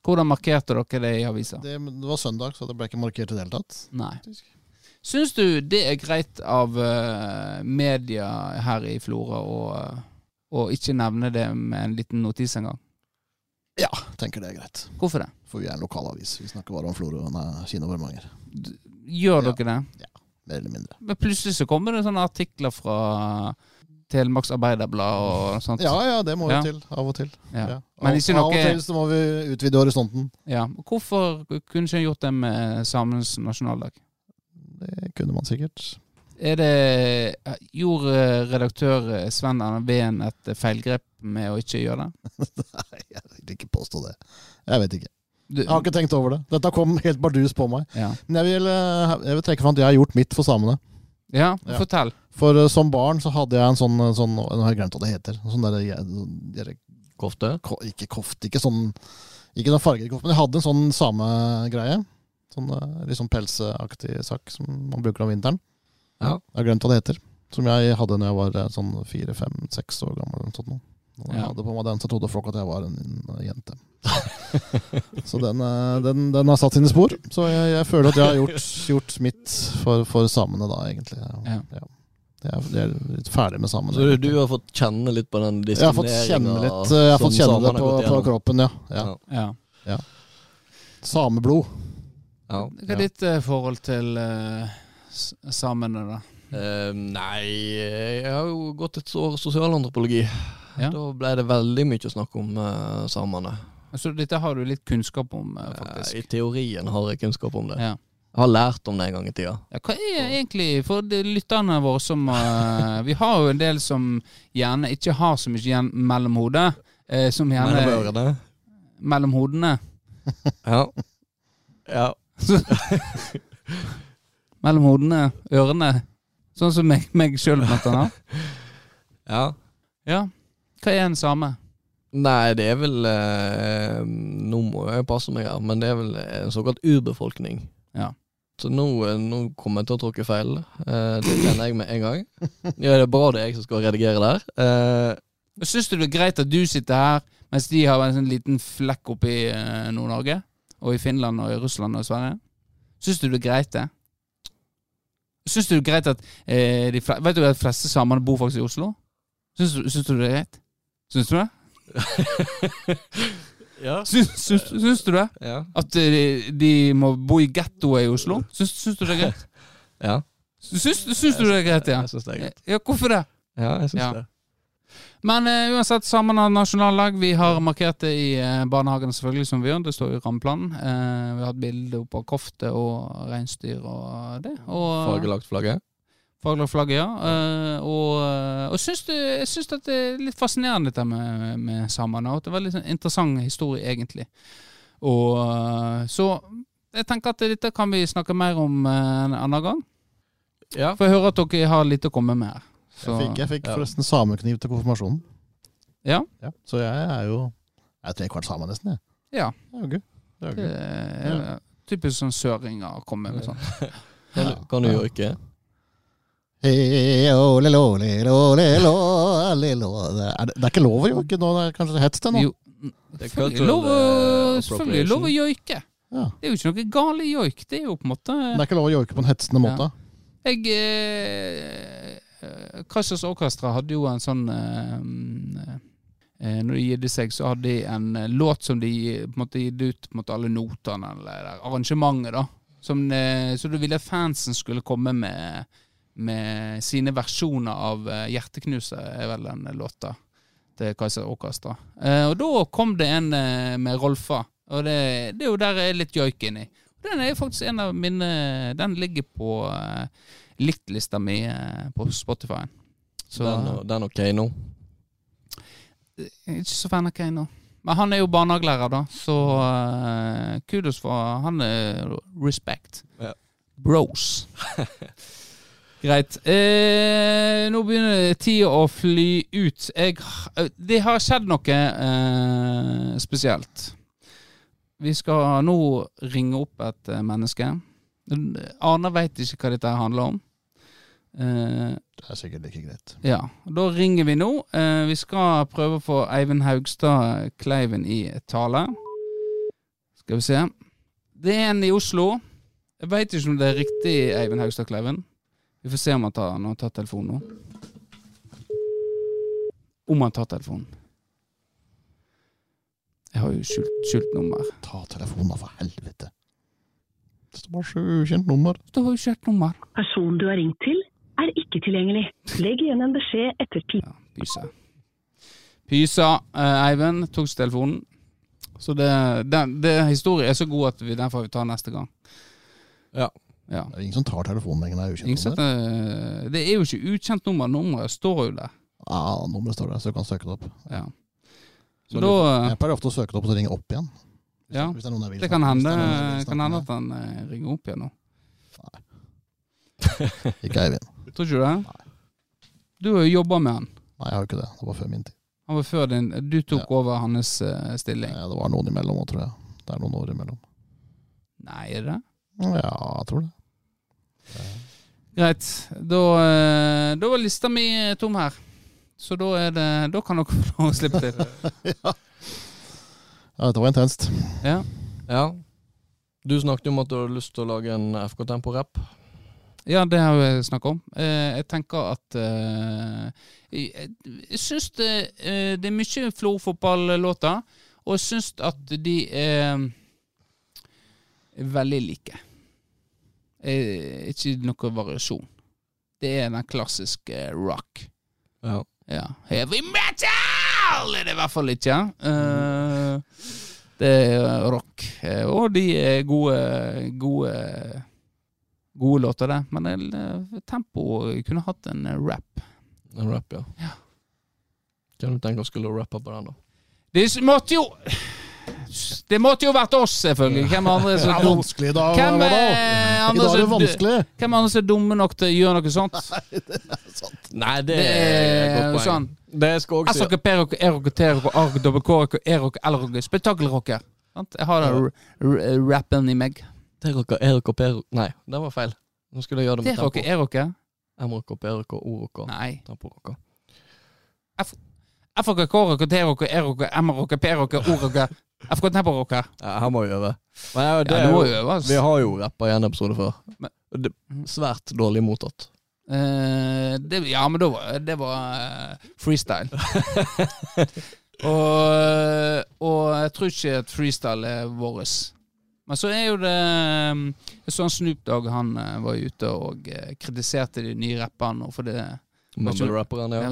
B: Hvordan markerte dere det i avisa?
D: Det, det var søndag, så det ble ikke markert i det hele tatt.
B: Nei.
D: faktisk.
B: Syns du det er greit av eh, media her i Flora å eh, å ikke nevne det med en liten notis engang?
D: Tenker det er greit.
B: Hvorfor det?
D: For vi er en lokalavis. Vi snakker bare om Florø og nei, Kina og Bremanger.
B: Gjør
D: Ja.
B: dere det?
D: Mer eller mindre.
B: Men plutselig så kommer det sånne artikler fra Telemarks Arbeiderblad og sånt.
D: Ja ja, det må jo
B: Ja.
D: til. Av og til.
B: Ja.
D: Ja.
B: Men
D: av,
B: ikke
D: av og
B: noe-
D: til så må vi utvide horisonten.
B: Ja. Hvorfor kunne ikke en gjort det med samenes nasjonaldag?
D: Det kunne man sikkert.
B: Er det, eh, gjorde redaktør eh, Sven Arne Ven et eh, feilgrep med å ikke gjøre det?
D: Nei, jeg vil ikke påstå det. Jeg vet ikke.
B: Du,
D: Jeg har ikke tenkt over det. Dette kom helt bardus på meg.
B: ja.
D: Men jeg vil, eh, jeg vil trekke fram at jeg har gjort mitt for samene.
B: Ja,
D: Ja.
B: fortell.
D: For eh, som barn så hadde jeg en sånn, eh, sånn Nå har jeg glemt hva det heter. Sånn der, jeg- sånn der,
C: Kofte?
D: ko- ikke koft, ikke sånn Ikke noen fargerik koft, men jeg hadde en sånn samegreie. Sånn eh, litt sånn pelseaktig sak som man bruker om vinteren.
C: Ja.
D: Jeg har glemt hva det heter. Som jeg hadde når jeg var eh, sånn fire, fem, seks år gammel. Eller noe sånt. nå. Når jeg
B: Ja.
D: hadde på meg den, så trodde folk at jeg var en, en jente. så den, eh, den, den har satt sine spor. Så jeg, jeg føler at jeg har gjort, gjort mitt for, for samene, da, egentlig.
B: Ja.
D: Jeg, er, jeg er litt ferdig med samene.
C: Så du, du har fått kjenne litt på den
D: jeg har fått kjenne,
C: diskrimineringen
D: litt, eh, jeg har
C: som
D: fått kjenne
C: samene
D: det
C: sånn har
D: på,
C: gått
D: på
C: gjennom?
D: kroppen, ja. ja.
C: Ja.
B: Ja.
D: Sameblod.
C: Ja.
B: Hva er ditt eh, forhold til eh, s- samene, da?
C: Eh, nei, eh, jeg har jo gått et år sosialantropologi.
B: Ja.
C: Da ble det veldig mye snakk om eh, samene.
B: Altså, dette har du litt kunnskap om, eh,
C: Eh, I
B: faktisk.
C: teorien har jeg kunnskap om det.
B: Ja.
C: Jeg har lært om det en gang i tida.
B: Ja, hva er egentlig for de lytterne våre som eh, Vi har jo en del som gjerne ikke har så mye igjen mellom hodet. eh, som gjerne
C: Mellom ørene.
B: Mellom hodene.
C: Ja. ja.
B: Mellom hodene. Ørene. Sånn som meg, meg sjøl, blant annet.
C: ja.
B: Ja. Hva er en same?
C: Nei, det er vel eh, Nå må jeg passe meg her, men det er vel en såkalt urbefolkning.
B: Ja.
C: Så nå, eh, nå kommer jeg til å tråkke feil. Eh, det kjenner jeg med en gang. Ja, det er bra det er jeg som skal redigere der. Eh,
B: Syns du det er greit at du sitter her, mens de har en sånn liten flekk oppe i eh, Nord-Norge? Og i Finland og i Russland og Sverige? Syns du det er greit, det? Syns du det er greit at eh, de fle Vet du at de fleste samene bor faktisk i Oslo? Syns du, syns du det er greit? Syns du det?
C: ja.
B: Syns, syns, syns du det?
C: ja.
B: At eh, de, de må bo i gettoer i Oslo? Syns, syns du det er greit?
C: Ja.
B: Syns, syns du det er greit, ja?
C: Jeg syns det er greit.
B: Ja, hvorfor det?
C: Ja, jeg syns
B: Ja.
C: det.
B: Men eh, uansett, sammen har nasjonallag. Vi har markert det i eh, barnehagen, selvfølgelig, som vi gjør. Det står i rammeplanen. Eh, vi har hatt bilde opp av kofte og reinsdyr og det. Og,
C: Fargelagt flagget.
B: Fagerlag flagget, ja. Eh, og eh, og syns det, jeg syns at det er litt fascinerende dette med, med samene. og At det er veldig sånn interessant historie, egentlig. Og eh, Så jeg tenker at dette kan vi snakke mer om eh, en annen gang.
C: Ja.
B: For jeg hører at dere har litt å komme med her. Så,
D: Jeg fikk, jeg fikk
C: Ja.
D: forresten samekniv til konfirmasjonen.
B: Ja.
D: Så jeg er jo Jeg er trekvart same, nesten. jeg.
B: Ja.
D: Det er jo gøy. Det er jo
B: det
D: gøy.
B: er eh, typisk sånn søringer å komme med sånn. sånt.
C: Kan, du- kan du joike?
D: Hei, å, le, lo, le, lo, le, lo, le, lo. Det er, det er ikke lov å joike nå, det er kanskje hets det nå?
B: Jo,
C: Det er
B: selvfølgelig
C: cultural,
B: lov å-
C: eh,
B: selvfølgelig lov å joike.
D: Ja.
B: Det er jo ikke noe gale joik. Det er jo på en måte
D: Men Det er ikke lov å joike på en hetsende
B: Ja.
D: måte.
B: Jeg eh, Crashers Orchestra hadde jo en sånn eh, eh, Når de gidde seg, så hadde de en eh, låt som de på en måte gitt ut på en måte alle notene, eller, eller arrangementet, da. Som, eh, så du ville fansen skulle komme med, med sine versjoner av eh, 'Hjerteknuser', er vel den låta til Kaiser Orchestra. Eh, og da kom det en eh, med Rolfa, og det, det er jo der jeg er litt joik inni. Den er faktisk en av mine Den ligger på eh, Litt-lista mi eh, på Spotify. Så
C: Den, eh, og- den og Kano.
B: jeg er ikke så fan av Kane nå. Men han er jo barnehagelærer, da, så eh, kudos for han. er respect.
C: Ja.
B: Bros. Greit. Eh, nå begynner tida å fly ut. Jeg, h- det har skjedd noe eh, spesielt. Vi skal nå ringe opp et eh, menneske. Aner veit ikke hva dette handler om. Eh,
D: Det er sikkert ikke greit.
B: ja, da ringer vi nå. Eh, vi skal prøve å få Eivind Haugstad eh, Kleiven i tale. Skal vi se. Det er en i Oslo. Jeg veit ikke om det er riktig Eivind Haugstad Kleiven. Vi får se om han tar, når han tar telefonen nå. Om han tar telefonen. Jeg har jo skjult, skjult nummer.
D: Ta telefonen, da, for helvete. Det står bare sju ukjent nummer.
B: Du har jo skjult nummer.
E: Personen du har ringt til, er ikke tilgjengelig. Legg igjen en beskjed etter pipen.
B: Ja, pysa. Pysa, eh, Eivind, tok ikke telefonen. Så det, den, det historien er så god at vi, den får vi ta neste gang.
C: Ja.
B: Ja.
D: Det er ingen som tar telefonen lenger, det er
B: Ingen
D: ukjent
B: sett,
D: nummer.
B: eh, det er jo ikke ukjent nummer, nummeret står jo der.
D: Ja, nummeret står der, så du kan søke det opp.
B: Ja. Så
C: Men
B: da eh,
D: Jeg pleier ofte å søke det opp og så ringe opp igjen. Hvis
B: Ja,
D: hvis det, er noen jeg vil
B: Det kan
D: snakke med, hvis
B: hende,
D: det er noen jeg vil snakke
B: kan hende
D: med.
B: at han eh, ringer opp igjen nå.
D: Ikke Eivind.
B: Tror ikke du det? Du har jo jobba med han.
D: Nei, jeg har jo ikke det. Det var før min tid.
B: Han var før din Du tok over hans eh, stilling.
D: Eh, Det var noen imellom òg, tror jeg. Det er noen år imellom.
B: Nei, er det det?
D: Ja, jeg tror det.
B: Greit. Da, eh, da var lista mi tom her. Så da, er det, da kan dere få lov å slippe til.
D: Ja, dette var intenst.
B: Ja.
C: ja. Du snakket jo om at du hadde lyst til å lage en FK Tempo-rapp.
B: ja, det har vi snakka om. Eh, jeg tenker at eh, Jeg, jeg syns det, eh, det er mye florfotballåter, og jeg syns at de er veldig like. Eh, ikke noe variasjon. Det er den klassiske rock.
C: Ja.
B: Ja. Heavy metal er det i hvert fall ikke. Eh, det er rock. Eh, Og de er gode, gode, gode låter, det. Men eh, tempo kunne hatt en eh, rap.
C: En rap, ja.
B: Ja.
C: Kan du tenke oss skulle rappe på den, da?
B: Det s- måtte jo Det måtte jo vært oss, selvfølgelig. Hvem andre
D: Det
B: som
D: er vanskelig i dag.
B: Hvem
D: Vadal.
B: eh,
D: I dag er
B: andre
D: det
B: som
D: vanskelig.
B: hvem andre som er dumme nok til å gjøre noe sånt?
C: Nei, det,
B: Det
C: er
B: er
C: et godt
B: jo
C: poeng.
B: sånn.
C: Det skal jeg også si.
B: S-rocker, P-rocker, E-rocker, T-rocker, A-rocker, E-rocker, L-rocker. Spetakkelrocker. Sant? Jeg har den r- r- rappen i meg.
C: T-rocker, E-rocker, P-rocker Nei, det var feil. Nå skulle jeg gjøre det med
B: T-rocker,
C: tempo.
B: E-rocker.
C: M-rocker, P-rocker, O-rocker.
B: e Nei.
C: Tempo-rocker.
B: F-rocker, K-rocker, T-rocker, E-rocker, M-rocker, P-rocker, O-rocker. FK Tempo-rocker.
C: Ja, her må vi øve. Men ja, det
B: Ja,
C: er
B: du må
C: jo,
B: øve,
C: vi
B: altså.
C: har jo rappa i en episode før.
B: Men- Mhm.
C: Det, svært dårlig mottatt.
B: Eh, det, ja, men da var det var eh, freestyle. og, og jeg tror ikke at freestyle er våres. Men så er jo det mm, eh, Jeg så han Snoop Dogg han eh, var ute og eh, kritiserte de nye rapperne nå for det
C: Mumble-rapperen, ja.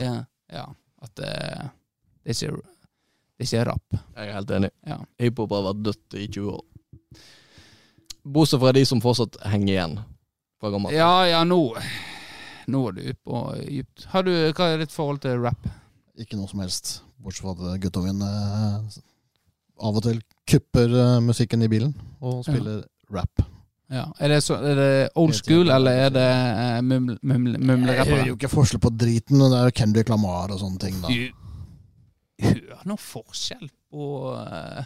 B: Ja. ja. At eh, det er ikke Det er ikke rapp.
C: Jeg er helt enig.
B: Ja.
C: Hiphop har vært dødt i 20 år. Bortsett fra de som fortsatt henger igjen fra gammelt.
B: ja, ja, nå Nå er du ute og dypt. Har du Hva er ditt forhold til rap?
D: Ikke noe som helst. Bortsett fra at guttungen eh, av og til kupper eh, musikken i bilen og spiller rap.
B: Ja. Er, det så, er det old school, eller er det eh, mumle- mumle-
D: Jeg hører
B: mumlerappere?
D: jo ikke forskjell på driten. Det er jo Kendrick Lamar og sånne ting. da.
B: Du hører noe forskjell på eh,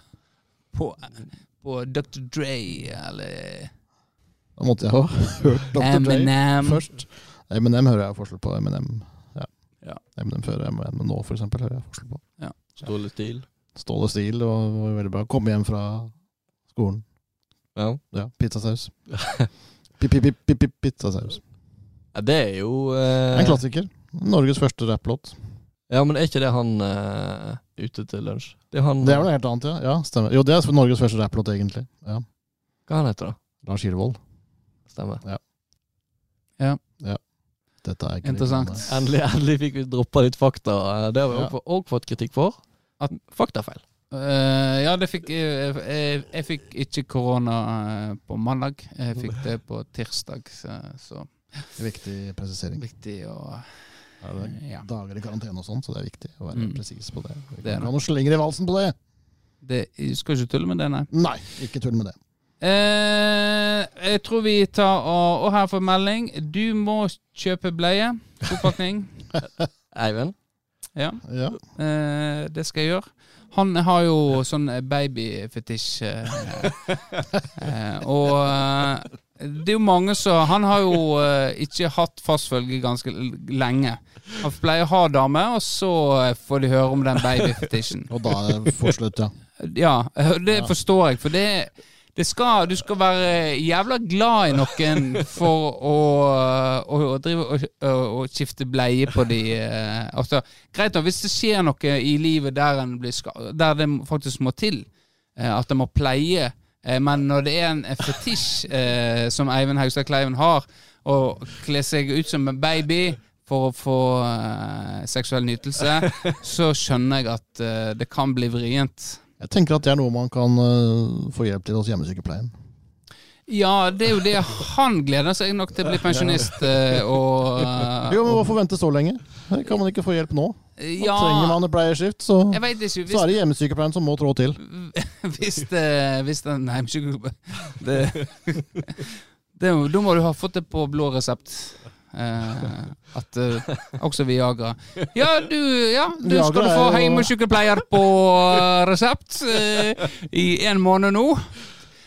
B: På, eh, på Dr. Dre eller
D: Da måtte jeg ha hørt Dr. Dre
B: Eminem.
D: først. Eminem hører jeg forskjell på. Eminem ja.
B: Ja.
D: Eminem før Eminem nå, for eksempel, hører jeg forskjell på.
C: Ståle stil.
D: Stål og stil det var var veldig bra. Komme hjem fra skolen.
C: Ja.
D: Ja, pizzasaus. Pip-pip-pip-pip, pizzasaus.
C: Ja, Det er jo eh,
D: En klassiker. Norges første rapplåt.
C: Ja, men er ikke det han eh, ute til lunsj? Det er han
D: Det er vel noe helt annet, ja. ja stemmer. Jo, det er Norges første rapplåt, egentlig. Ja.
C: Hva han heter da?
D: Lars Irvold.
C: Stemmer.
D: Dette er ikke eh,
B: Interessant.
D: det.
C: Endelig, endelig fikk vi droppa litt fakta. eh, Det har vi
D: Ja.
C: også, fått- og fått kritikk for.
B: At-
C: Faktafeil.
B: Eh, ja, det fikk jeg, jeg, jeg fikk ikke korona eh, på mandag. Jeg fikk det på tirsdag, så, så
D: Viktig presisering.
B: viktig å
D: Er det
B: Ja.
D: dager i karantene og sånn, så det er viktig å være
B: Mm.
D: presis på det. Vi
B: Det er
D: kan
B: det.
D: ha noen slenger i valsen på det!
B: Det, jeg skal ikke tulle med det, nei.
D: Nei, ikke tull med det.
B: Eh, jeg tror vi tar og, og her får melding. Du må kjøpe bleie. Oppakning.
C: Eivind?
B: Ja,
D: Ja.
B: eh, det skal jeg gjøre. Han har jo sånn babyfetisj. Eh, eh, og eh, det er jo mange som Han har jo eh, ikke hatt fast følge ganske l- lenge. Han pleier å ha dame, og så eh, får de høre om den babyfetisjen.
D: Og da er det for slutt, ja.
B: Ja, det
D: Ja.
B: forstår jeg, for det, det skal, du skal være jævla glad i noen for å, å, å drive og, å- å skifte bleie på de eh, altså, Greit nok hvis det skjer noe i livet der, en blir ska- der det faktisk må til, eh, at en må pleie, eh, men når det er en fetisj eh, som Eivind Haugstad Kleiven har, å kle seg ut som en baby for å få eh, seksuell nytelse, så skjønner jeg at eh, det kan bli vrient.
D: Jeg tenker at det er noe man kan eh, få hjelp til hos hjemmesykepleien.
B: Ja, det er jo det han gleder seg nok til å bli pensjonist eh, og eh,
D: Jo, men Hvorfor vente så lenge? Kan man ikke få hjelp nå?
B: Ja,
D: Trenger man et bleieskift, så,
B: jeg veit ikke.
D: så er det hjemmesykepleien som må trå til.
B: Hvis, hvis det hvis det, Nei, men ikke det, det, er jo- Da må du ha fått det på blå resept. eh, at eh, også Viagra. Ja, du, ja, du
D: Viagra
B: skal du
D: er
B: få
D: jo-
B: hjemmesykepleier på eh, resept eh, i en måned nå.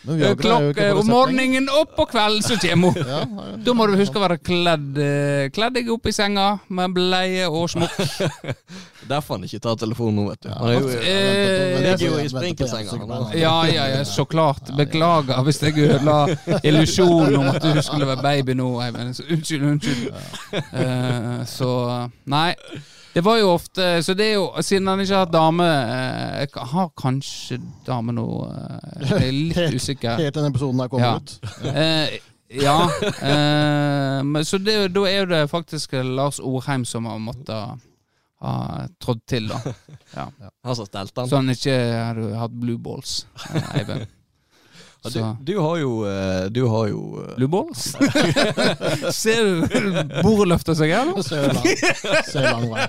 D: Men Viagra er jo ikke på
B: Klokka
D: resept
B: om
D: lenger.
B: morgenen og på kvelden så kommer hun.
D: Ja, det er jo-
B: Da må du huske å være kledd eh, Kledd deg opp i senga med bleie og smokk.
C: Derfor han ikke tar telefonen nå, vet du.
D: Ja.
C: Han er jo,
B: Eh,
C: han ligger jo i
D: venter på
C: sprinkelsenga.
D: hjemmesykepleien.
C: han.
B: Ja, ja, ja, så klart. Beklager hvis jeg ødela illusjonen om at du skulle være baby nå, Eivind. Så Unnskyld, unnskyld. Eh, så Nei. Det var jo ofte Så det er jo Siden han ikke har hatt dame eh, jeg Har kanskje dame nå? eh, jeg er litt usikker.
D: Helt til den episoden her kommer
B: Ja.
D: ut.
B: Eh, ja. eh, men, så det, da er jo det faktisk Lars Orheim som har måttet ha trådt til, da.
C: Han som stelte han.
B: Så han ikke hadde hatt blue balls. eh, Eivind.
C: Ja,
B: Så.
C: Du, du har jo eh, Du har jo eh,
B: Blue balls? Ser du bordet løfter seg her,
D: Det ser lang- ser lang vei.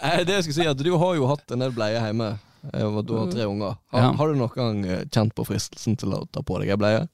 C: eh, Det jeg skulle si er at du har jo hatt en del bleie hjemme. eh, og Du har
D: Mm.
C: tre unger. Har,
B: Ja.
C: har du noen gang eh, kjent på fristelsen til å ta på deg ei bleie?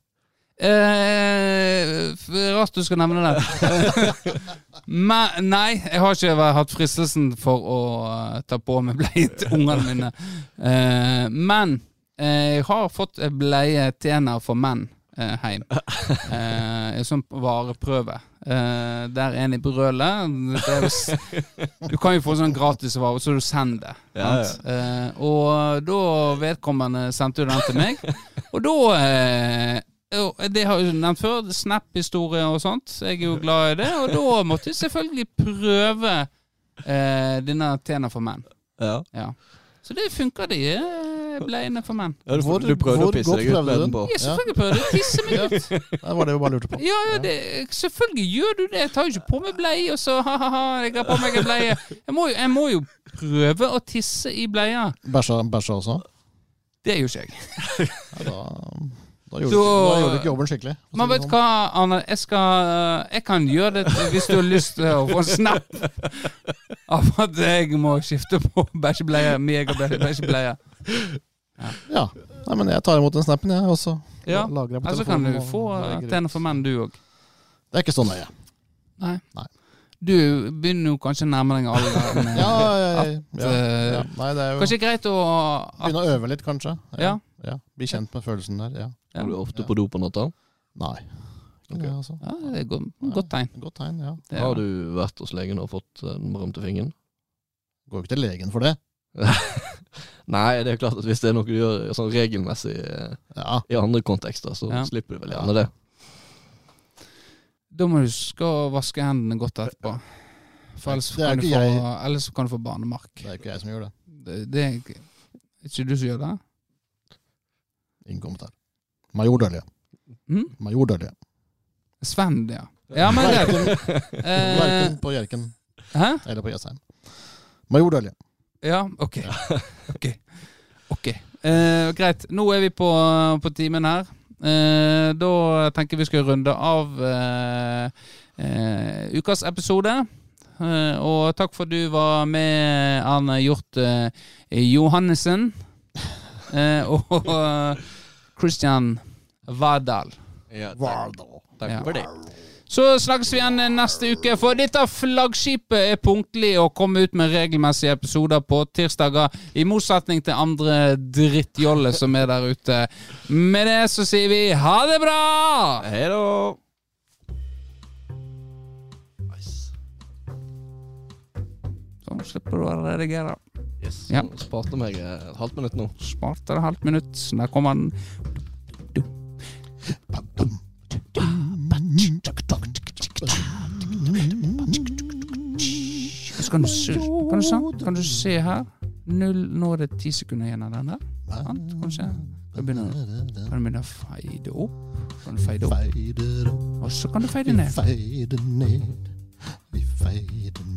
B: Eh, f- rart du skal nevne det. Men, nei, jeg har ikke vært- hatt fristelsen for å eh, ta på meg bleie til ungene mine. Eh, men eh, jeg har fått en bleie tjener for menn eh, hjem. Eh, en sånn vareprøve. Eh, der er en i brølet. Det er jo s- Du kan jo få sånn gratisvare, så du sender det.
C: Ja,
B: sant? Eh, og da vedkommende sendte jo den til meg. Og da eh, jo, Det har jeg jo nevnt før, Snap-historie og sånt. Jeg er jo glad i det. Og da måtte jeg selvfølgelig prøve eh, denne Tena for menn.
C: Ja.
B: Ja. Så det funka, de. eh, bleiene for menn.
C: Ja, du,
D: Hvor-
C: du prøvde
D: hvor
C: å pisse
D: godt
C: deg ut
D: prøvde
C: med
D: du
C: den
D: den?
C: på.
B: Ja, selvfølgelig prøvde jeg å tisse meg ut.
D: Det var det vi bare lurte på.
B: Ja, ja, det, selvfølgelig gjør du det. Jeg tar jo ikke på meg bleie, og så ha-ha-ha, jeg har på meg en bleie. Jeg må, jo, jeg må jo prøve å tisse i bleia.
D: Bæsja, bæsja også?
B: Det gjør ikke jeg.
D: Ja, da, da, gjorde
B: Så-
D: du, ikke- da gjorde du ikke jobben skikkelig. for å si
B: Men
D: det
B: vet du
D: sånn.
B: hva, Arne, jeg skal eh, Jeg kan gjøre det hvis du har lyst til å få en snap av at jeg må skifte på bæsjebleie. Meg og bæ- bæsjebleie.
D: Ja. Nei, men jeg tar imot den snappen, jeg, og så
B: Ja.
D: lager jeg på
B: Ja, så kan
D: telefonen.
B: du
D: og
B: få eh,
D: legger ut.
B: tenner for menn, du òg.
D: Det er ikke så nøye.
B: Nei.
D: Nei.
B: Du begynner jo kanskje å nærme deg alderen.
D: Ja, ja, ja, ja,
B: eh,
D: ja. Nei, det er jo
B: Kanskje greit å at,
D: Begynne å øve litt, kanskje.
B: Ja.
D: ja. Bli kjent med følelsen der. Ja.
B: Ja.
C: Går du ofte på do på natta?
D: Nei. Ikke
C: Ok.
D: det, altså.
B: Ja, det er et godt, godt tegn.
D: Godt tegn, ja.
B: Det er-
C: Har du vært hos legen og fått eh, den berømte fingeren?
D: Går jo ikke til legen for det.
C: Nei, det er jo klart at hvis det er noe du gjør sånn regelmessig eh,
D: Ja.
C: i andre kontekster, så
B: Ja.
C: slipper du vel
D: Ja.
C: gjerne det.
B: Da må du huske å vaske hendene godt etterpå. For ellers,
D: Det er
B: kan du,
D: ikke
B: få,
D: jeg.
B: ellers kan du få barnemark.
D: Det er jo ikke jeg som gjør det.
B: Det, det er ikke, ikke du som gjør det?
D: Ingen kommentar. Major Dølje.
B: Mm?
D: Major Dølje.
B: Sven, ja. Ja, men greit.
D: Verken,
B: Eh,
D: verken på Hjerken
B: hæ?
D: eller på Jessheim. Major Dølje.
B: Ja, ok. Ok. Ok. Eh, greit. Nå er vi på, på timen her. Eh, da tenker jeg vi skal runde av eh, eh, ukas episode. Eh, og takk for du var med, Arne Hjort eh, Johannessen. Eh, og eh, Christian Vardal.
C: Ja,
D: Vardo.
C: takk
B: Ja.
C: for det.
B: Så snakkes vi igjen neste uke, for dette flaggskipet er punktlig og kommer ut med regelmessige episoder på tirsdager, i motsetning til andre drittjoller som er der ute. Med det så sier vi ha det bra!
C: Hei da!
B: Sånn slipper du å redigere.
C: Yes,
B: Ja.
C: nå Sparte meg eh, et halvt minutt nå.
B: Smartere halvt minutt. Der kommer den. Så kan du se, kan du se, kan du se her. Null, nå er det ti sekunder igjen av den her. Sant, kanskje? Kan du begynne, kan du begynne å fade opp? Kan du fade opp?
D: Feider opp,
B: Og så kan du fade
D: vi
B: ned.
D: feider ned. Vi feider